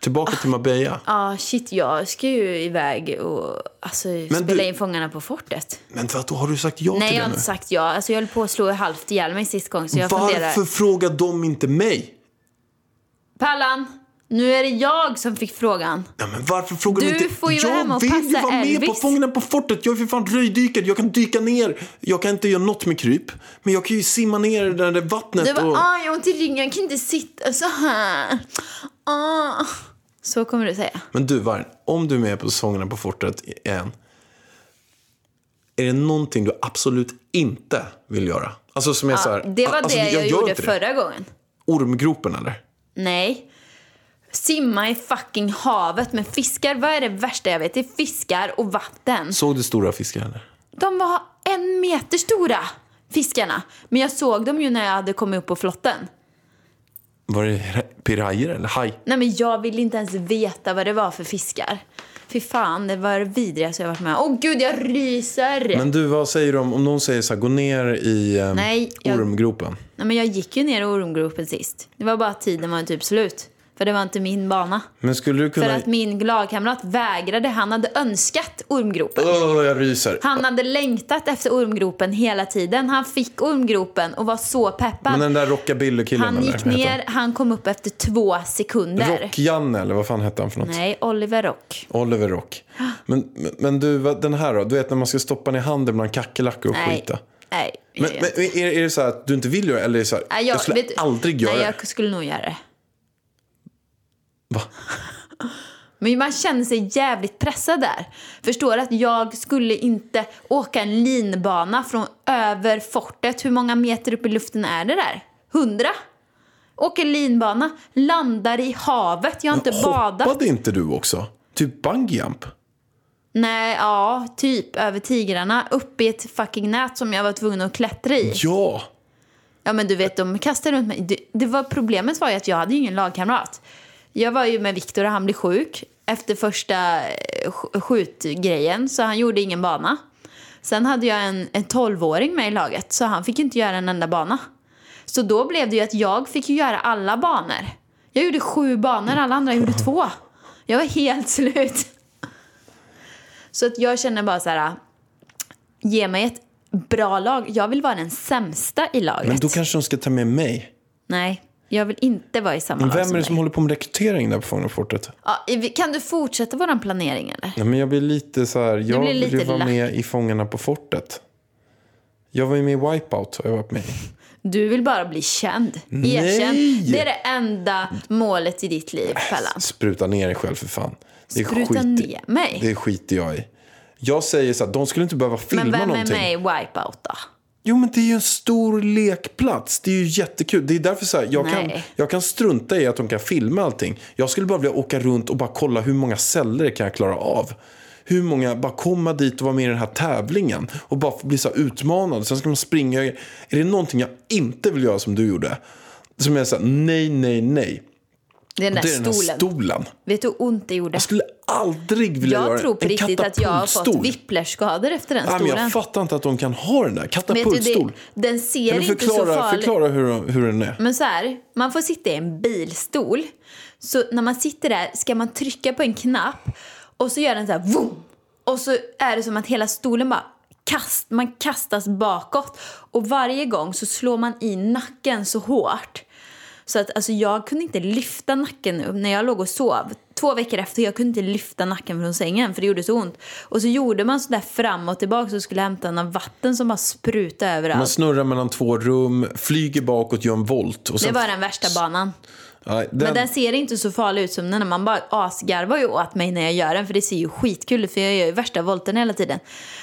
B: Tillbaka
C: Ah.
B: till Marbella.
C: Ja, shit, jag ska ju iväg och alltså, spela
B: du-
C: in Fångarna på fortet.
B: Men för att då har du sagt ja
C: Nej,
B: till
C: jag
B: det
C: har
B: nu.
C: inte sagt ja. Alltså, jag höll på att slå halvt ihjäl mig sist gång, så jag
B: Varför
C: funderar.
B: frågar de inte mig?
C: Pallan, nu är det jag som fick frågan.
B: Ja, men varför frågar
C: Du
B: de inte?
C: får ju vara hemma
B: jag
C: och
B: vill ju
C: passa
B: vara med på
C: Elvis.
B: Fångarna på fortet. Jag är för fan röjdykare. Jag kan dyka ner. Jag kan inte göra något med kryp. Men jag kan ju simma ner i det där vattnet.
C: Du
B: och...
C: bara, ah, jag har ont i ryggen, jag kan inte sitta så här. Ah. Så kommer du säga.
B: Men du, Varn. Om du är med på Sångerna på fortet igen. Är det någonting du absolut inte vill göra? Alltså som är så här,
C: Ah, Det var
B: alltså,
C: det jag,
B: gör
C: gjorde
B: inte det.
C: förra gången.
B: Ormgropen eller?
C: Nej. Simma i fucking havet med fiskar. Vad är det värsta jag vet? Det är fiskar och vatten.
B: Såg du stora fiskar eller?
C: De var en meter stora, fiskarna. Men jag såg dem ju när jag hade kommit upp på flotten.
B: Var det pirajor eller haj?
C: Nej men jag ville inte ens veta vad det var för fiskar. Fy fan, det var det vidrigaste jag varit med om. Åh gud, jag ryser!
B: Men du, vad säger du om, om någon säger så här, gå ner i eh,
C: Nej, jag-
B: ormgropen?
C: Nej, men jag gick ju ner i ormgropen sist. Det var bara att tiden var typ slut. För det var inte min bana.
B: Men skulle du kunna...
C: För att min lagkamrat vägrade. Han hade önskat ormgropen.
B: Åh, jag ryser.
C: Han hade längtat efter ormgropen hela tiden. Han fick ormgropen och var så peppad.
B: Men den där rockabillykillen
C: han
B: eller?
C: gick
B: vad heter
C: ner, han kom upp efter två sekunder.
B: han? Rock-Janne eller vad fan hette han för något?
C: Nej, Oliver Rock.
B: Oliver Rock. Men, men- men du, vad- den här då? Du vet när man ska stoppa ner handen bland kackerlackor och
C: Nej.
B: skita.
C: Nej.
B: Men, men är, är det så här att du inte vill göra det? Eller är det så här,
C: Nej,
B: jag, skulle
C: vet du-
B: aldrig göra
C: Nej,
B: det?
C: jag skulle nog göra det.
B: Va?
C: Men man känner sig jävligt pressad där. Förstår att jag skulle inte åka en linbana från över fortet. Hur många meter upp i luften är det där? Hundra? Åker linbana, landar i havet. Jag har inte badat.
B: Hoppade inte du också? Typ bungyjump?
C: Nej, ja, typ över tigrarna. Upp i ett fucking nät som jag var tvungen att klättra i.
B: Ja!
C: Ja men du vet, de kastade runt mig. Det, det var, problemet var ju att jag hade ju ingen lagkamrat. Jag var ju med Viktor och han blev sjuk efter första eh, sk- skjutgrejen så han gjorde ingen bana. Sen hade jag en, en 12-åring med i laget så han fick ju inte göra en enda bana. Så då blev det ju att jag fick ju göra alla banor. Jag gjorde sju banor, alla andra gjorde två. Jag var helt slut. Så att jag känner bara så här, ge mig ett bra lag. Jag vill vara den sämsta i laget.
B: Men då kanske de ska ta med mig.
C: Nej, jag vill inte vara i samma
B: Men
C: lag
B: vem är
C: som
B: det som
C: dig.
B: håller på med rekrytering där på Fångarna på fortet?
C: alltså Ja, vi- kan du fortsätta vår planering eller?
B: Nej, men jag blir lite så här, jag
C: blir
B: vill ju
C: lite
B: vara
C: lack.
B: med i Fångarna på fortet. Jag var ju med i Wipeout har jag varit med i.
C: Du vill bara bli känd. Erkänd. Det är det enda målet i ditt liv, Pellan.
B: Spruta ner dig själv för fan. Det
C: Spruta
B: skit-
C: ner mig?
B: Det skiter jag i. Jag säger så här, de skulle inte behöva filma
C: Men vem är
B: någonting.
C: med i Wipeout då?
B: Jo men det är ju en stor lekplats. Det är ju jättekul. Det är därför så här, jag, kan,
C: Nej.
B: jag kan strunta i att de kan filma allting. Jag skulle bara vilja åka runt och bara kolla hur många celler kan jag klara av. Hur många, bara komma dit och vara med i den här tävlingen. Och bara få bli så här utmanad. Sen ska man springa. Är det någonting jag inte vill göra som du gjorde? Som är så här, nej, nej, nej.
C: Det är den där
B: det är den här
C: stolen.
B: stolen.
C: Vet du hur ont det gjorde?
B: Jag skulle aldrig vilja
C: Jag
B: göra
C: tror på
B: en
C: riktigt att jag har
B: katapultstol.
C: fått whipplerskador efter den
B: Nej, men
C: stolen.
B: jag fattar inte att de kan ha den där.
C: Vet du, det,
B: Katapultstol.
C: den ser
B: Kan du
C: inte så Mm.
B: förklara,
C: farlig
B: förklara hur, hur den är?
C: Men så här, man får sitta i en bilstol. Så när man sitter där ska man trycka på en knapp och så gör den så här vroom. Och så är det som att hela stolen bara kast, man kastas bakåt. Och varje gång så slår man i nacken så hårt. Så att alltså, jag kunde inte lyfta nacken upp när jag låg och sov. Två veckor efter jag kunde inte lyfta nacken från sängen för det gjorde så ont. Och så gjorde man så där fram och tillbaka så skulle jag hämta någon vatten som bara sprutade överallt.
B: Man snurrar mellan två rum, flyger bakåt, gör en volt. Och
C: Det
B: sen,
C: var den värsta banan.
B: Nej, den,
C: Men den ser inte så farlig ut som den när man bara asgarvar ju åt mig när jag gör den för det ser ju skitkul ut för jag gör ju värsta volten hela tiden.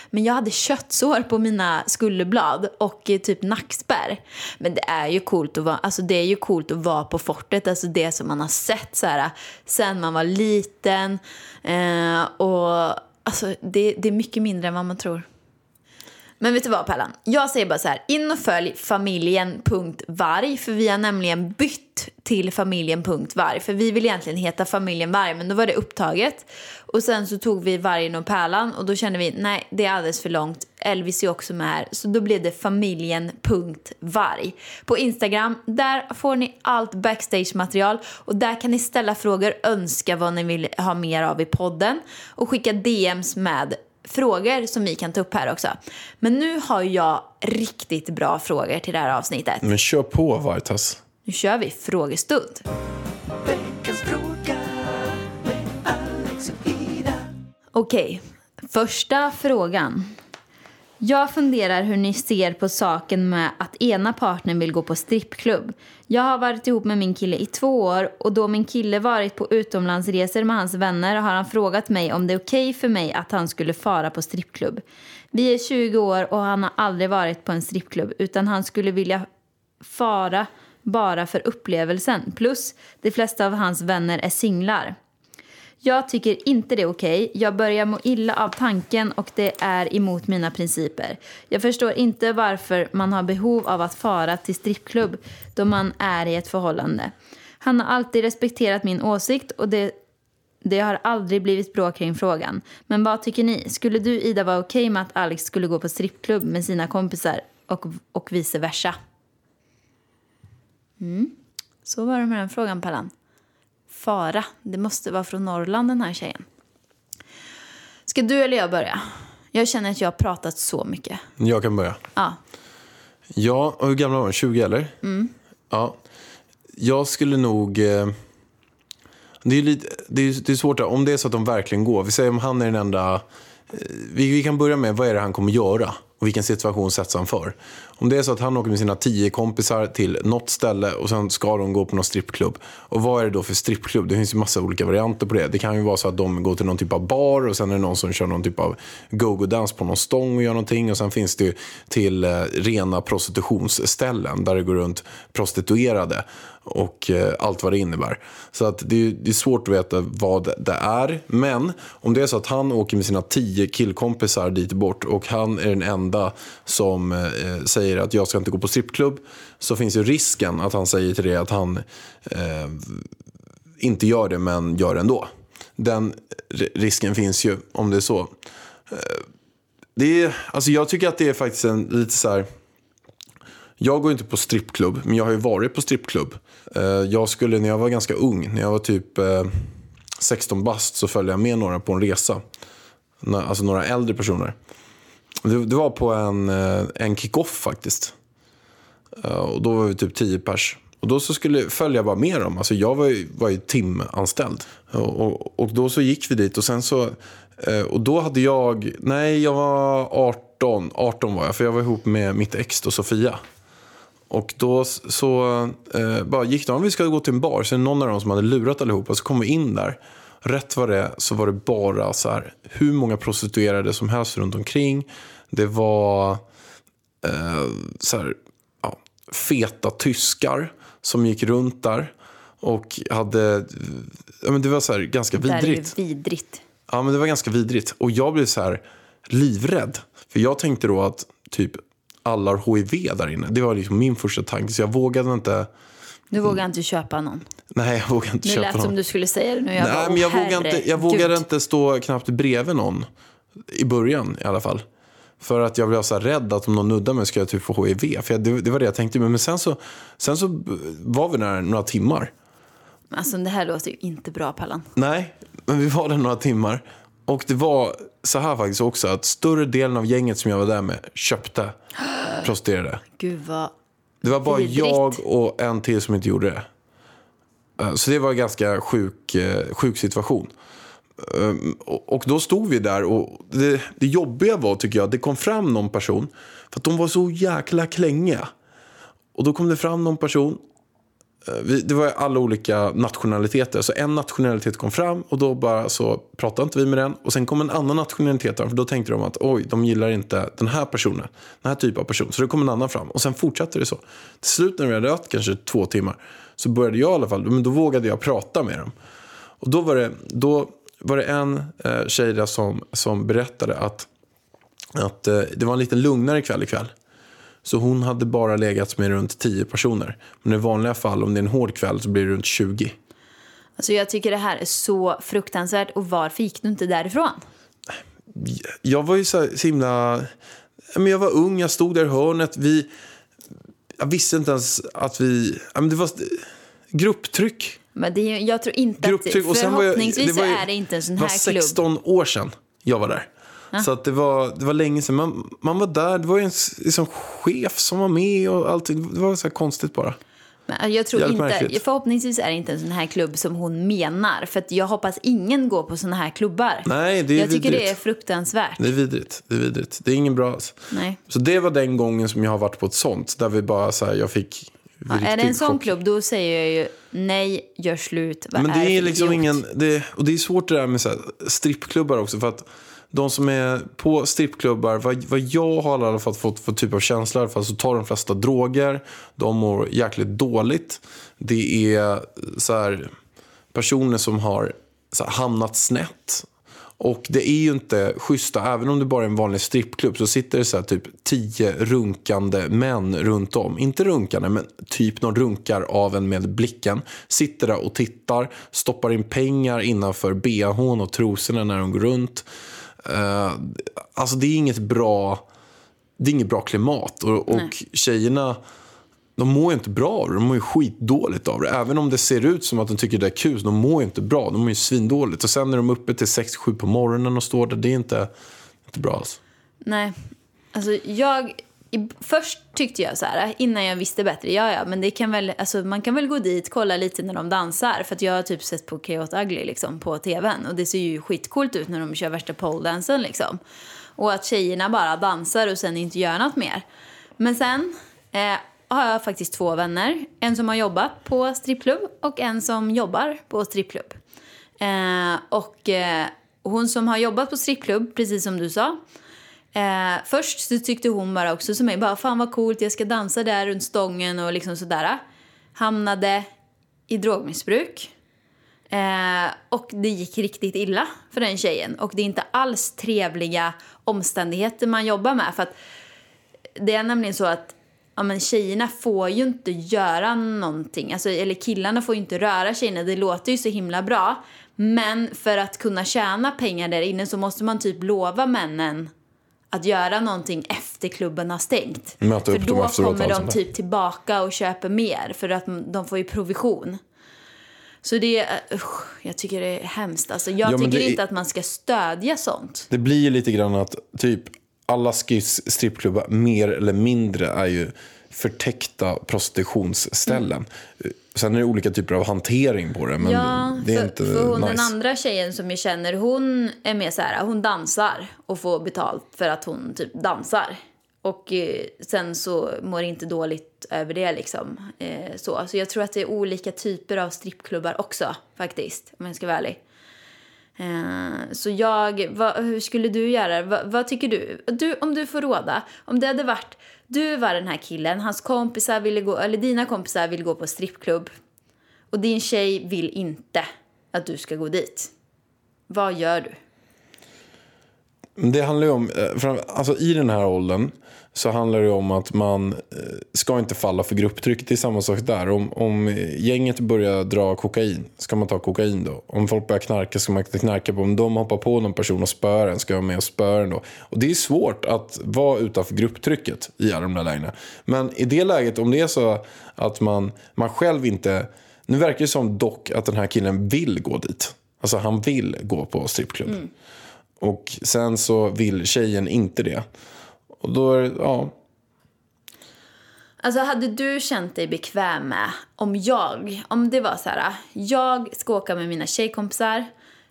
C: Men jag hade köttsår på mina skulderblad och eh, typ nackspärr. Men det är ju coolt att vara, alltså det är ju coolt att vara på fortet, alltså det som man har sett så här sen man var liten eh, och alltså det, det är mycket mindre än vad man tror. Men vet du vad Pärlan? Jag säger bara så här, in och följ familjen.varg för vi har nämligen bytt till familjen.varg för vi vill egentligen heta familjen Varg men då var det upptaget och sen så tog vi vargen och pärlan och då kände vi nej det är alldeles för långt Elvis är också med här så då blev det familjen.varg på Instagram där får ni allt backstage material och där kan ni ställa frågor önska vad ni vill ha mer av i podden och skicka DMs med frågor som vi kan ta upp här också. Men nu har jag riktigt bra frågor till det här avsnittet.
B: Men kör på Vartas.
C: Nu kör vi frågestund.
A: Veckans fråga med Alex och Ida.
C: Okej, första frågan. Jag funderar hur ni ser på saken med att ena partnern vill gå på strippklubb. Jag har varit ihop med min kille i två år och då min kille varit på utomlandsresor med hans vänner har han frågat mig om det är okej för mig att han skulle fara på strippklubb. Vi är 20 år och han har aldrig varit på en strippklubb utan han skulle vilja fara bara för upplevelsen. Plus, de flesta av hans vänner är singlar. Jag tycker inte det är okej. Jag börjar må illa av tanken och det är emot mina principer. Jag förstår inte varför man har behov av att fara till strippklubb då man är i ett förhållande. Han har alltid respekterat min åsikt och det Det har aldrig blivit bråk kring frågan. Men vad tycker ni? Skulle du, Ida, vara okej med att Alex skulle gå på strippklubb med sina kompisar och, och vice versa? Mm. Så var det med den frågan, Pallan. Fara. Det måste vara från Norrland, den här tjejen. Ska du eller jag börja? Jag känner att jag har pratat så mycket.
B: Jag kan börja.
C: Ja. Mm.
B: Ja, och hur gamla var de? 20 eller? Ja. Jag skulle nog... eh, Det är, ju lite, det är, det är svårt där. om det är så att de verkligen går. Vi säger om han är den enda... eh, Vi, vi kan börja med vad är det han kommer göra och vilken situation sätts han för. Om det är så att han åker med sina tio kompisar till något ställe och sen ska de gå på någon strippklubb. Och vad är det då för strippklubb? Det finns ju massa olika varianter på det. Det kan ju vara så att de går till någon typ av bar och sen är det någon som kör någon typ av go-go-dans på någon stång och gör någonting. Och sen finns det ju till eh, rena prostitutionsställen där det går runt prostituerade och eh, allt vad det innebär. Så att det, är, det är svårt att veta vad det är. Men om det är så att han åker med sina tio killkompisar dit bort och han är den enda som eh, säger att jag ska inte gå på strippklubb så finns ju risken att han säger till det att han eh, inte gör det men gör det ändå. Den ri- risken finns ju om det är så. Eh, Det är, alltså jag tycker att det är faktiskt en lite så här... Jag går inte på strippklubb, men jag har ju varit på strippklubb. Eh, Jag skulle, när jag var ganska ung, när jag var typ eh, 16 bast, så följde jag med några på en resa. Nå- Alltså några äldre personer. Det det var på en, eh, en kick-off faktiskt. Eh, Och då var vi typ 10 pers. Och då så skulle följde jag bara med dem. Alltså jag var ju, var ju timanställd. Och, och, och då så gick vi dit och sen så... eh, Och då hade jag... Nej, jag var 18. 18 var jag, för jag var ihop med mitt ex då, Sofia. Och då s- så eh, bara gick de, vi ska gå till en bar. Sen någon av dem som hade lurat allihopa, så kom vi in där. Rätt vad det är så var det bara så här, hur många prostituerade som helst runt omkring. Det var eh, så här, ja, feta tyskar som gick runt där. Och hade, ja, men det var så här, ganska
C: Det här är ju
B: vidrigt.
C: vidrigt.
B: Ja, men det var ganska vidrigt. Och jag blev så här livrädd. För jag tänkte då att typ alla har hiv där inne. Det var liksom min första tanke. Så jag vågade inte.
C: Du vågar inte köpa någon.
B: Nej, jag vågade inte
C: Nu
B: köpa
C: lät
B: någon.
C: som du skulle säga det nu. Jag bara,
B: Nej, men jag,
C: "Åh,
B: vågade inte, jag
C: herregud."
B: vågade inte stå knappt bredvid någon. I början i alla fall. För att jag blev så här rädd att om någon nuddar mig ska jag typ få hiv. För jag, det, det var det jag tänkte. Men, men sen, så, sen så var vi där några timmar.
C: Alltså det här låter ju inte bra Pallan.
B: Nej, men vi var där några timmar. Och det var så här faktiskt också att större delen av gänget som jag var där med köpte prostituerade.
C: Gud vad...
B: Det var bara
C: Vidrigt.
B: jag och en till som inte gjorde det. Eh, Så det var en ganska sjuk, eh, sjuk situation. Ehm, och- Och då stod vi där och det, det jobbiga var tycker jag att det kom fram någon person för att de var så jäkla klängiga. Och då kom det fram någon person. eh, vi- Det var alla olika nationaliteter. Så en nationalitet kom fram och då bara så pratade inte vi med den. Och sen kom en annan nationalitet fram. För då tänkte de att oj, de gillar inte den här personen. Den här typen av person. Så då kom en annan fram. Och sen fortsatte det så. Till slut när vi hade rört kanske två timmar. Så började jag i alla fall. Men då vågade jag prata med dem. Och då var det, då var det en eh, tjej där som, som berättade att, att eh, det var en lite lugnare kväll ikväll. Så hon hade bara legat med runt 10 personer. Men i vanliga fall, om det är en hård kväll, så blir det runt 20.
C: Alltså jag tycker det här är så fruktansvärt och varför gick du inte därifrån?
B: Jag var ju så, här, så himla... ja, Men jag var ung, jag stod där i hörnet. Vi... Jag visste inte ens att vi... ja, Men det var grupptryck.
C: Men det är, ju- jag tror inte
B: Grupptryck.
C: att...
B: Och sen var jag,
C: förhoppningsvis
B: var ju-
C: så är det inte en sån
B: Det var
C: här klubb.
B: 16 år sedan jag var där. Så att det, var, det var länge sedan. Man, man var där, det var ju en s- liksom, chef som var med och allt. Det var så här konstigt bara.
C: Men äh, jag tror
B: Jävligt
C: inte,
B: märkligt.
C: förhoppningsvis är det inte en sån här klubb som hon menar. För att jag hoppas ingen går på såna här klubbar.
B: Nej, det är
C: jag tycker det
B: vidrigt.
C: är fruktansvärt.
B: Det är vidrigt. Det är vidrigt. Det är ingen bra alltså. alls.
C: Nej.
B: Så det var den gången som jag har varit på ett sånt. Där vi bara så här, jag fick
C: Ja, är det en
B: riktig
C: sån
B: chock.
C: klubb då säger jag ju nej, gör slut. Vad
B: Men det är
C: för
B: liksom
C: idiot?
B: ingen, det, och det är svårt det där med så här, strippklubbar också. För att de som är på strippklubbar, vad, vad jag har i alla fall fått för typ av känsla i alla fall, så tar de flesta droger. De mår jäkligt dåligt. Det är så här, personer som har så här, hamnat snett. Och det är ju inte schyssta, även om det bara är en vanlig strippklubb så sitter det så här typ tio runkande män runt om. Inte runkande, men typ någon runkar av en med blicken. Sitter där och tittar, stoppar in pengar innanför bhn och trosorna när de går runt. Eh, alltså det är inget bra, det är inget bra klimat. Och, och tjejerna, de mår ju inte bra av det. De mår ju skitdåligt av det. Även om det ser ut som att de tycker det är kul, de mår ju inte bra. De mår ju svindåligt. Och sen när de är uppe till 6-7 på morgonen och står där, det är inte, inte bra alls.
C: Nej. Alltså jag... I, först tyckte jag så här, innan jag visste bättre, ja ja, men det kan väl, alltså, man kan väl gå dit, kolla lite när de dansar. För att jag har typ sett på Chaos Ugly liksom, på tvn och det ser ju skitcoolt ut när de kör värsta poledansen liksom. Och att tjejerna bara dansar och sen inte gör något mer. Men sen eh, har jag faktiskt två vänner. En som har jobbat på strippklubb och en som jobbar på strippklubb. Eh, och eh, hon som har jobbat på strippklubb, precis som du sa, Eh, först så tyckte hon bara också som mig, bara fan vad coolt, jag ska dansa där runt stången och liksom sådär. Hamnade i drogmissbruk. Eh, och det gick riktigt illa för den tjejen. Och det är inte alls trevliga omständigheter man jobbar med. För att det är nämligen så att ja, men tjejerna får ju inte göra någonting. Alltså, eller killarna får ju inte röra tjejerna. Det låter ju så himla bra. Men för att kunna tjäna pengar där inne så måste man typ lova männen att göra någonting efter klubben har stängt.
B: Möta
C: för
B: upp dem
C: då
B: efteråt och
C: kommer
B: allt
C: de
B: sånt där.
C: typ tillbaka och köper mer för att de får ju provision. Så det är, eh, usch, jag tycker det är hemskt. Alltså, jag
B: Ja, men
C: tycker
B: det är-
C: inte att man ska stödja sånt.
B: Det blir ju lite grann att typ alla skiss strippklubbar mer eller mindre är ju förtäckta prostitutionsställen. Sen är det olika typer av hantering på det, men
C: Ja,
B: det är
C: för,
B: inte
C: för hon,
B: nice.
C: den andra tjejen som jag känner, hon är mer så här, hon dansar och får betalt för att hon typ dansar. Och eh, sen så mår inte dåligt över det liksom. Eh, så. så jag tror att det är olika typer av strippklubbar också faktiskt, om jag ska vara ärlig. Eh, Så jag, vad, hur skulle du göra? Vad, vad tycker du? du? Om du får råda, om det hade varit, du var den här killen, hans kompisar ville gå, eller dina kompisar ville gå på strippklubb och din tjej vill inte att du ska gå dit. Vad gör du?
B: Men Det handlar ju om, eh, fram- alltså i den här åldern så handlar det om att man eh, ska inte falla för grupptryck. Det är samma sak där. Om, om eh, gänget börjar dra kokain, ska man ta kokain då? Om folk börjar knarka, ska man inte knarka på? Om de hoppar på någon person och spöar en, ska jag vara med och spöa den då? Och det är svårt att vara utanför grupptrycket i alla de där lägena. Men i det läget, om det är så att man, man själv inte... Nu verkar det som dock att den här killen vill gå dit. Alltså han vill gå på strippklubb. Och sen så vill tjejen inte det. Och då är det, ja.
C: Alltså hade du känt dig bekväm med om jag, om det var så här, jag ska åka med mina tjejkompisar,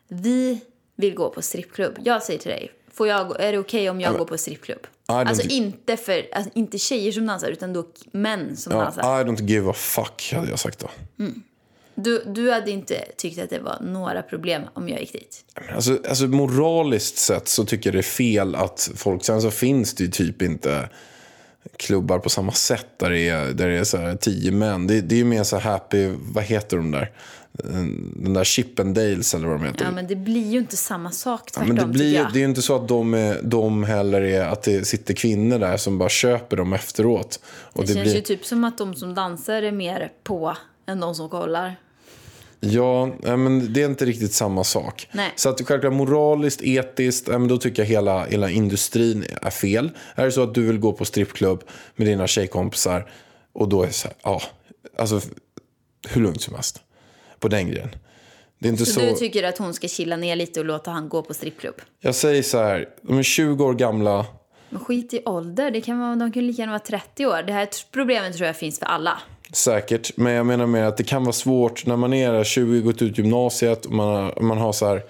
C: vi vill gå på strippklubb. Jag säger till dig, får jag, gå- är det okej om jag går på strippklubb?
B: don't
C: Alltså
B: thi-
C: inte, för, alltså inte tjejer som dansar utan då män som
B: ja
C: dansar.
B: I don't give a fuck hade jag sagt då.
C: Du, du hade inte tyckt att det var några problem om jag gick dit.
B: Men Alltså, alltså moraliskt sett så tycker jag det är fel att folk, sen så finns det ju typ inte klubbar på samma sätt där det är, där det är så här tio män. Det, det är ju mer så här happy, vad heter de där? Eh, Den där Chippendales eller vad de heter.
C: Ja men det blir ju inte samma sak tvärtom
B: Men det, blir,
C: tycker
B: ju-
C: jag.
B: det är ju inte så att de, är, de heller är att det sitter kvinnor där som bara köper dem efteråt. Och
C: Det känns ju typ som att de som dansar är mer på än de som kollar.
B: Ja, nej, men det är inte riktigt samma sak.
C: Nej.
B: Så att självklart moraliskt, etiskt, nej, men då tycker jag hela, hela industrin är fel. Är det så att du vill gå på strippklubb med dina tjejkompisar och då är det så här, ja, alltså hur lugnt som helst på den grejen. Det är inte
C: Så,
B: så,
C: du tycker att hon ska chilla ner lite och låta han gå på strippklubb?
B: Jag säger så här, de är 20 år gamla,
C: Men skit i ålder, det kan vara, de kan lika gärna vara 30 år. Det här t- problemet tror jag finns för alla.
B: Säkert, men jag menar mer att det kan vara svårt när man är 20, gått ut gymnasiet och man, har- man har så här...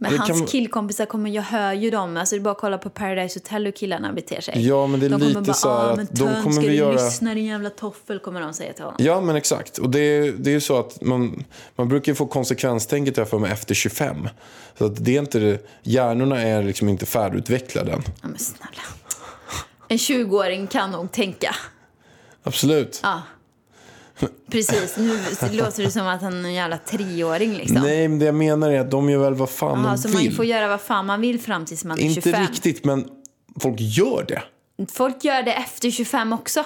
C: Men
B: det
C: hans
B: kan-
C: killkompisar kommer, jag hör ju dem, alltså det är bara att kolla på Paradise Hotel hur killarna beter sig.
B: Ja, men det är
C: de kommer
B: lite
C: bara,
B: så här
C: "Ah,
B: att
C: men
B: de
C: tönt,
B: kommer
C: ska
B: väl
C: du
B: göra-
C: lyssna din jävla toffel, kommer de säga till honom.
B: Ja, men exakt. Och det är, det är ju så att man, man brukar ju få konsekvenstänket jag för mig efter 25. Så att det är inte, det- hjärnorna är liksom inte färdigutvecklade än.
C: Ja, men snälla. En 20-åring kan nog tänka.
B: Absolut.
C: Ja. Precis, nu låter det som att han är en jävla treåring liksom.
B: Nej, men det jag menar är att de gör väl vad fan
C: Jaha,
B: de
C: så
B: vill.
C: man får göra vad fan man vill fram tills man är
B: Inte
C: 25.
B: riktigt, men folk gör det.
C: Folk gör det efter 25 också.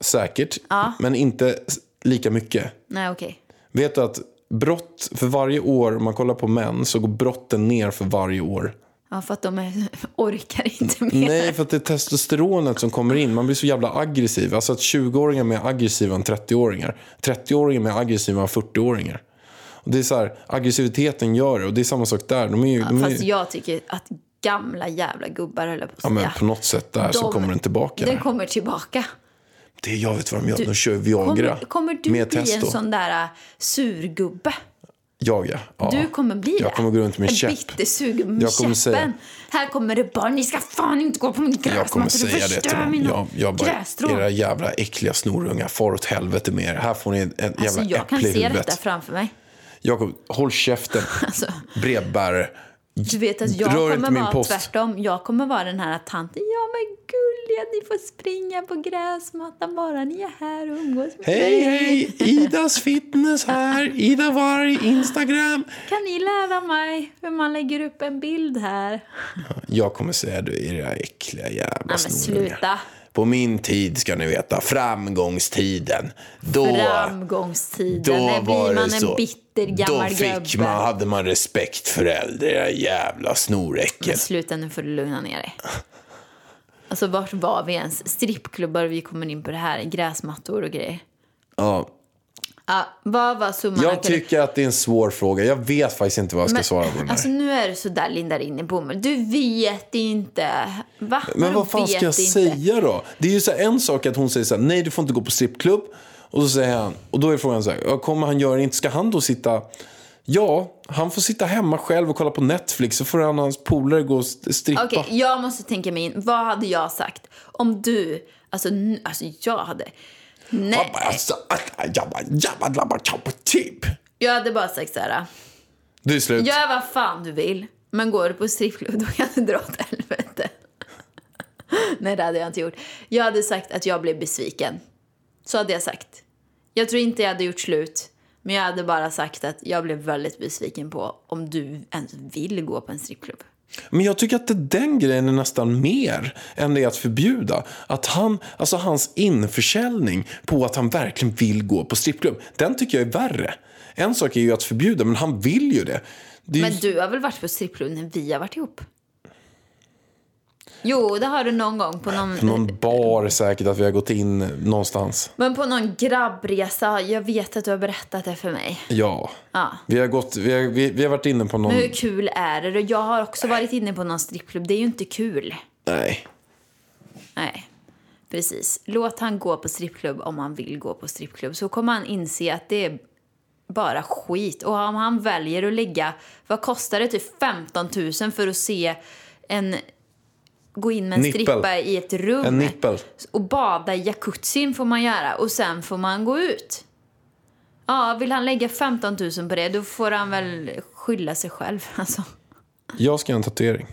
B: Säkert, men inte s- lika mycket.
C: Nej, okej.
B: Vet du att brott, för varje år, om man kollar på män, så går brotten ner för varje år.
C: Ja, för att de är, orkar inte mer.
B: Nej, för att det är testosteronet som kommer in. Man blir så jävla aggressiv. Alltså att 20-åringar är mer aggressiva än 30-åringar. 30-åringar är mer aggressiva än 40-åringar. Och det är så här, aggressiviteten gör det. Och det är samma sak där. De är ju, de är
C: Fast
B: ju,
C: jag tycker att gamla jävla gubbar, höll jag på att
B: ja,
C: säga.
B: men på något sätt där så
C: De-
B: kommer den tillbaka.
C: Den kommer tillbaka.
B: Det är jag vet vad de gör. De kör Viagra.
C: Kommer, kommer du
B: med
C: bli
B: testo.
C: en sån där äh, surgubbe?
B: Jag ja. ja.
C: Du kommer bli det.
B: Jag kommer gå runt med
C: en
B: käpp.
C: bittersurgubbe med
B: Jag kommer
C: käppen.
B: säga-
C: Här kommer det barn. Ni ska fan inte gå på min gräsmatta.
B: Jag kommer
C: alltså, du
B: säga det till
C: förstör
B: dem.
C: mina Alltså,
B: Jag, jag bara,
C: grässtrån.
B: era jävla äckliga snorungar, far åt helvete med er. Här får ni en en jävla
C: Alltså, jag kan
B: äpple i
C: se detta
B: huvudet.
C: framför mig.
B: Jakob, håll käften.
C: Alltså,
B: Brevbärare.
C: du vet att jag
B: Rör inte
C: kommer
B: min
C: vara
B: post.
C: tvärtom. Jag kommer vara den här tanten. Ja men gulliga, ni får springa på gräsmattan bara ni är här och umgås med
B: Hej,
C: mig.
B: hej! Idas fitness här. Ida Warg, Instagram.
C: Kan ni lära mig hur man lägger upp en bild här?
B: Jag kommer säga du, era äckliga jävla
C: men
B: snorungar.
C: sluta.
B: På min tid ska ni veta, framgångstiden. Då...
C: Framgångstiden.
B: Då
C: När
B: var
C: blir man en
B: det så.
C: bitter gammal
B: Då fick
C: gubbe?
B: man, hade man respekt för äldre, era jävla snoräcken.
C: Men sluta nu får du lugna ner dig. Alltså vart var vi ens? Strippklubbar vi kommer in på det här. Gräsmattor och grejer.
B: Ja.
C: Ja, vad var summan? av
B: Jag
C: kardemumman?
B: tycker att det är en svår fråga. Jag vet faktiskt inte vad jag ska
C: Men,
B: svara på den här.
C: Alltså nu är du sådär Linda in i bomull. Du vet inte. Va?
B: Men
C: Vadå
B: vad fan ska
C: vet
B: jag
C: inte?
B: säga då? Det är ju så här, en sak att hon säger så här, nej du får inte gå på strippklubb. Och så säger han, och då är frågan så här, "Ja, kommer han göra det inte? Ska han då sitta? Ja, han får sitta hemma själv och kolla på Netflix. Så får han och hans polare gå och st- strippa.
C: Okej, jag måste tänka mig in. Vad hade jag sagt? Om du, alltså, n- alltså jag hade... Nej,
B: Alltså, att- jabba, jabba, labba, tjabba, typ.
C: jag hade bara sagt så här.
B: Du är slut.
C: Gör vad fan du vill, men går du på strippklubb då kan du dra åt helvete. Nej, det hade jag inte gjort. Jag hade sagt att jag blev besviken. Så hade jag sagt. Jag tror inte jag hade gjort slut, men jag hade bara sagt att jag blev väldigt besviken på om du ens vill gå på en strippklubb.
B: Men jag tycker att det, den grejen är nästan mer än det att förbjuda. Att han, alltså hans införsäljning på att han verkligen vill gå på strippklubb, den tycker jag är värre. En sak är ju att förbjuda, men han vill ju det. det är
C: Men
B: ju,
C: du har väl varit på strippklubb när vi har varit ihop? Jo, det har du någon gång på någon...
B: på någon bar säkert att vi har gått in någonstans.
C: Men på någon grabbresa. Jag vet att du har berättat det för mig.
B: Ja.
C: Ja.
B: Vi, har gått, vi, har, vi, vi har varit inne på någon...
C: Men hur kul är det? Jag har också varit inne på någon strippklubb. Det är ju inte kul.
B: Nej.
C: Nej, precis. Låt han gå på strippklubb om han vill gå på strippklubb. Så kommer han inse att det är bara skit. Och om han väljer att lägga, vad kostar det? Typ 15 000 för att se en gå in med en
B: Nippel.
C: strippa i ett rum.
B: En nippel.
C: Och bada i jacuzzin får man göra och sen får man gå ut. Ja, vill han lägga 15 000 på det då får han väl skylla sig själv alltså.
B: Jag ska göra en tatuering.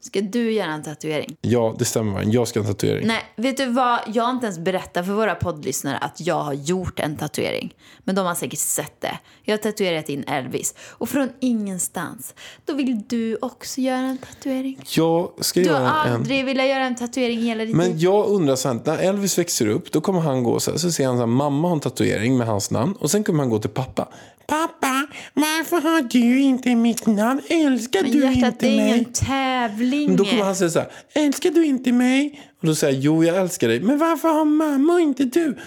C: Ska du göra en tatuering?
B: Ja, det stämmer. va? Jag ska göra en tatuering.
C: Nej, vet du vad? Jag har inte ens berättat för våra poddlyssnare att jag har gjort en tatuering. Men de har säkert sett det. Jag har tatuerat in Elvis. Och från ingenstans, då vill du också göra en tatuering.
B: Jag ska
C: Du har
B: göra en...
C: aldrig velat göra en tatuering i hela ditt
B: Men
C: liv.
B: jag undrar så här, när Elvis växer upp, då kommer han gå så här, så ser han så här, mamma har en tatuering med hans namn och sen kommer han gå till pappa. Pappa, varför har du inte mitt namn? Älskar
C: Men
B: du
C: hjärtat,
B: inte
C: det är
B: mig?
C: ingen tävling.
B: Men Då kommer han säga så här, älskar du inte mig? Och då säger jag, jo jag älskar dig, men varför har mamma och inte du?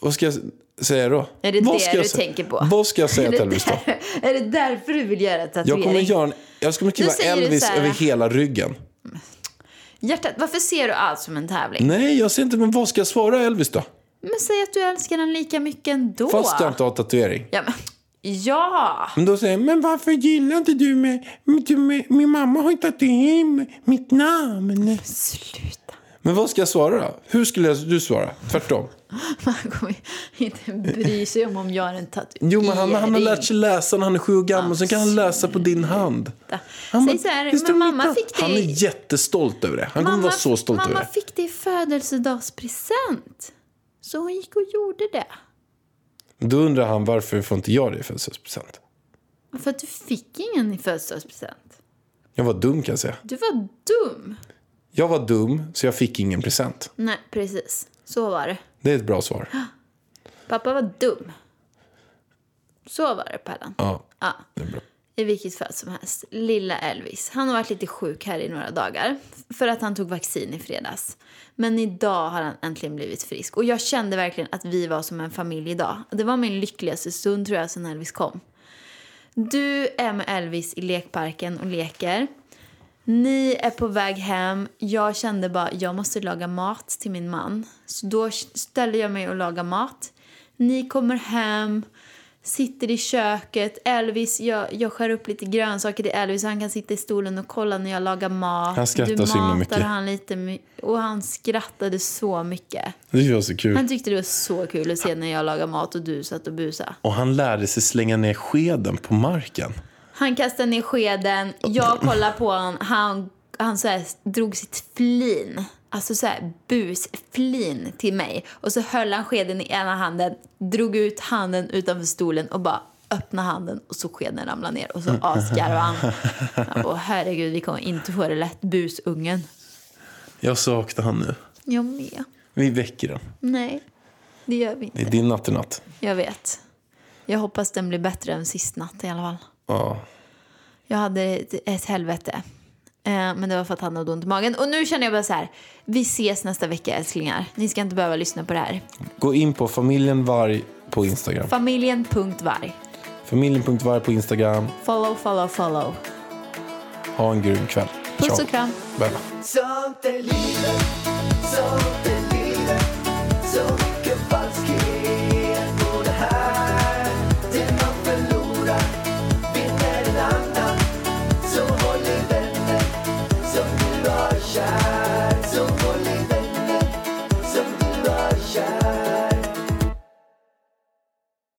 B: Vad ska jag säga då?
C: Är det
B: vad
C: det
B: ska
C: du
B: jag säga?
C: tänker på?
B: Vad ska jag säga
C: Är det
B: till Elvis då?
C: där- Är det därför du vill göra en tatuering?
B: Jag kommer, göra en, jag kommer skriva
C: säger du så
B: Elvis
C: här-
B: över hela ryggen.
C: Hjärtat, varför ser du allt som en tävling?
B: Nej, jag ser inte, men vad ska jag svara Elvis då?
C: Men säg att du älskar den lika mycket ändå.
B: Fast jag inte har tatuering.
C: Ja, men, ja.
B: Men då säger jag, men varför gillar inte du mig? Du, mig min mamma har inte tatuerat mitt namn.
C: Sluta.
B: Men vad ska jag svara då? Hur skulle jag, du svara? Tvärtom.
C: Man kommer inte bry sig om om jag har en tatuering.
B: Jo, men han, han har lärt sig läsa när han är sju år gammal. Sen kan han läsa på din hand. Han
C: Säg
B: bara,
C: så här,
B: "Det
C: men
B: står mitt
C: mamma
B: namn."
C: fick
B: Han
C: dig-
B: är jättestolt över det. Han kommer vara så stolt
C: mamma
B: över det.
C: fick det i födelsedagspresent. Så hon gick och gjorde det.
B: Då undrar han varför får inte jag det i födelsedagspresent?
C: För att du fick ingen i födelsedagspresent.
B: Jag var dum kan jag säga.
C: Du var dum.
B: Jag var dum så jag fick ingen present.
C: Nej, precis. Så var det.
B: Det är ett bra svar.
C: Pappa var dum. Så var det, Pärlan.
B: Ja,
C: Ja.
B: det är bra.
C: I vilket fall som helst. Lilla Elvis. Han har varit lite sjuk här i några dagar för att han tog vaccin i fredags. Men idag har han äntligen blivit frisk. Och jag kände verkligen att vi var som en familj idag. Det var min lyckligaste stund tror jag sen Elvis kom. Du är med Elvis i lekparken och leker. Ni är på väg hem. Jag kände bara jag måste laga mat till min man. Så då ställer jag mig och lagar mat. Ni kommer hem, sitter i köket. Elvis, jag, jag skär upp lite grönsaker till Elvis så han kan sitta i stolen och kolla när jag lagar mat.
B: Han skrattar
C: du
B: så himla
C: matar
B: mycket.
C: Han lite, my- och han skrattade så mycket.
B: Det var så kul.
C: Han tyckte det var så kul att se när jag lagade mat och du satt och busade.
B: Och han lärde sig slänga ner skeden på marken.
C: Han kastade ner skeden, jag kollade på honom, han, han så här drog sitt flin. Alltså så här busflin till mig. Och så höll han skeden i ena handen, drog ut handen utanför stolen och bara öppnade handen och så skeden ramlade ner och så asgarvade han. Jag bara, herregud, vi kommer inte få det lätt, busungen.
B: Jag saknar han nu.
C: Jag med.
B: Vi väcker den.
C: Nej, det gör vi
B: Det är
C: inte.
B: din natt i natt.
C: Jag vet. Jag hoppas den blir bättre än sist natt i alla fall.
B: Ja.
C: Jag hade ett, ett helvete. Eh, men det var för att han hade ont i magen. Och nu känner jag bara så här. Vi ses nästa vecka älsklingar. Ni ska inte behöva lyssna på det här.
B: Gå in på familjen Varg på Instagram.
C: Familjen.varg.
B: Familjen.varg på Instagram.
C: Follow, follow, follow.
B: Ha en grym kväll.
C: Puss
B: Ciao.
C: och kram.
B: Bye. bye.
A: Sånt är livet, sånt är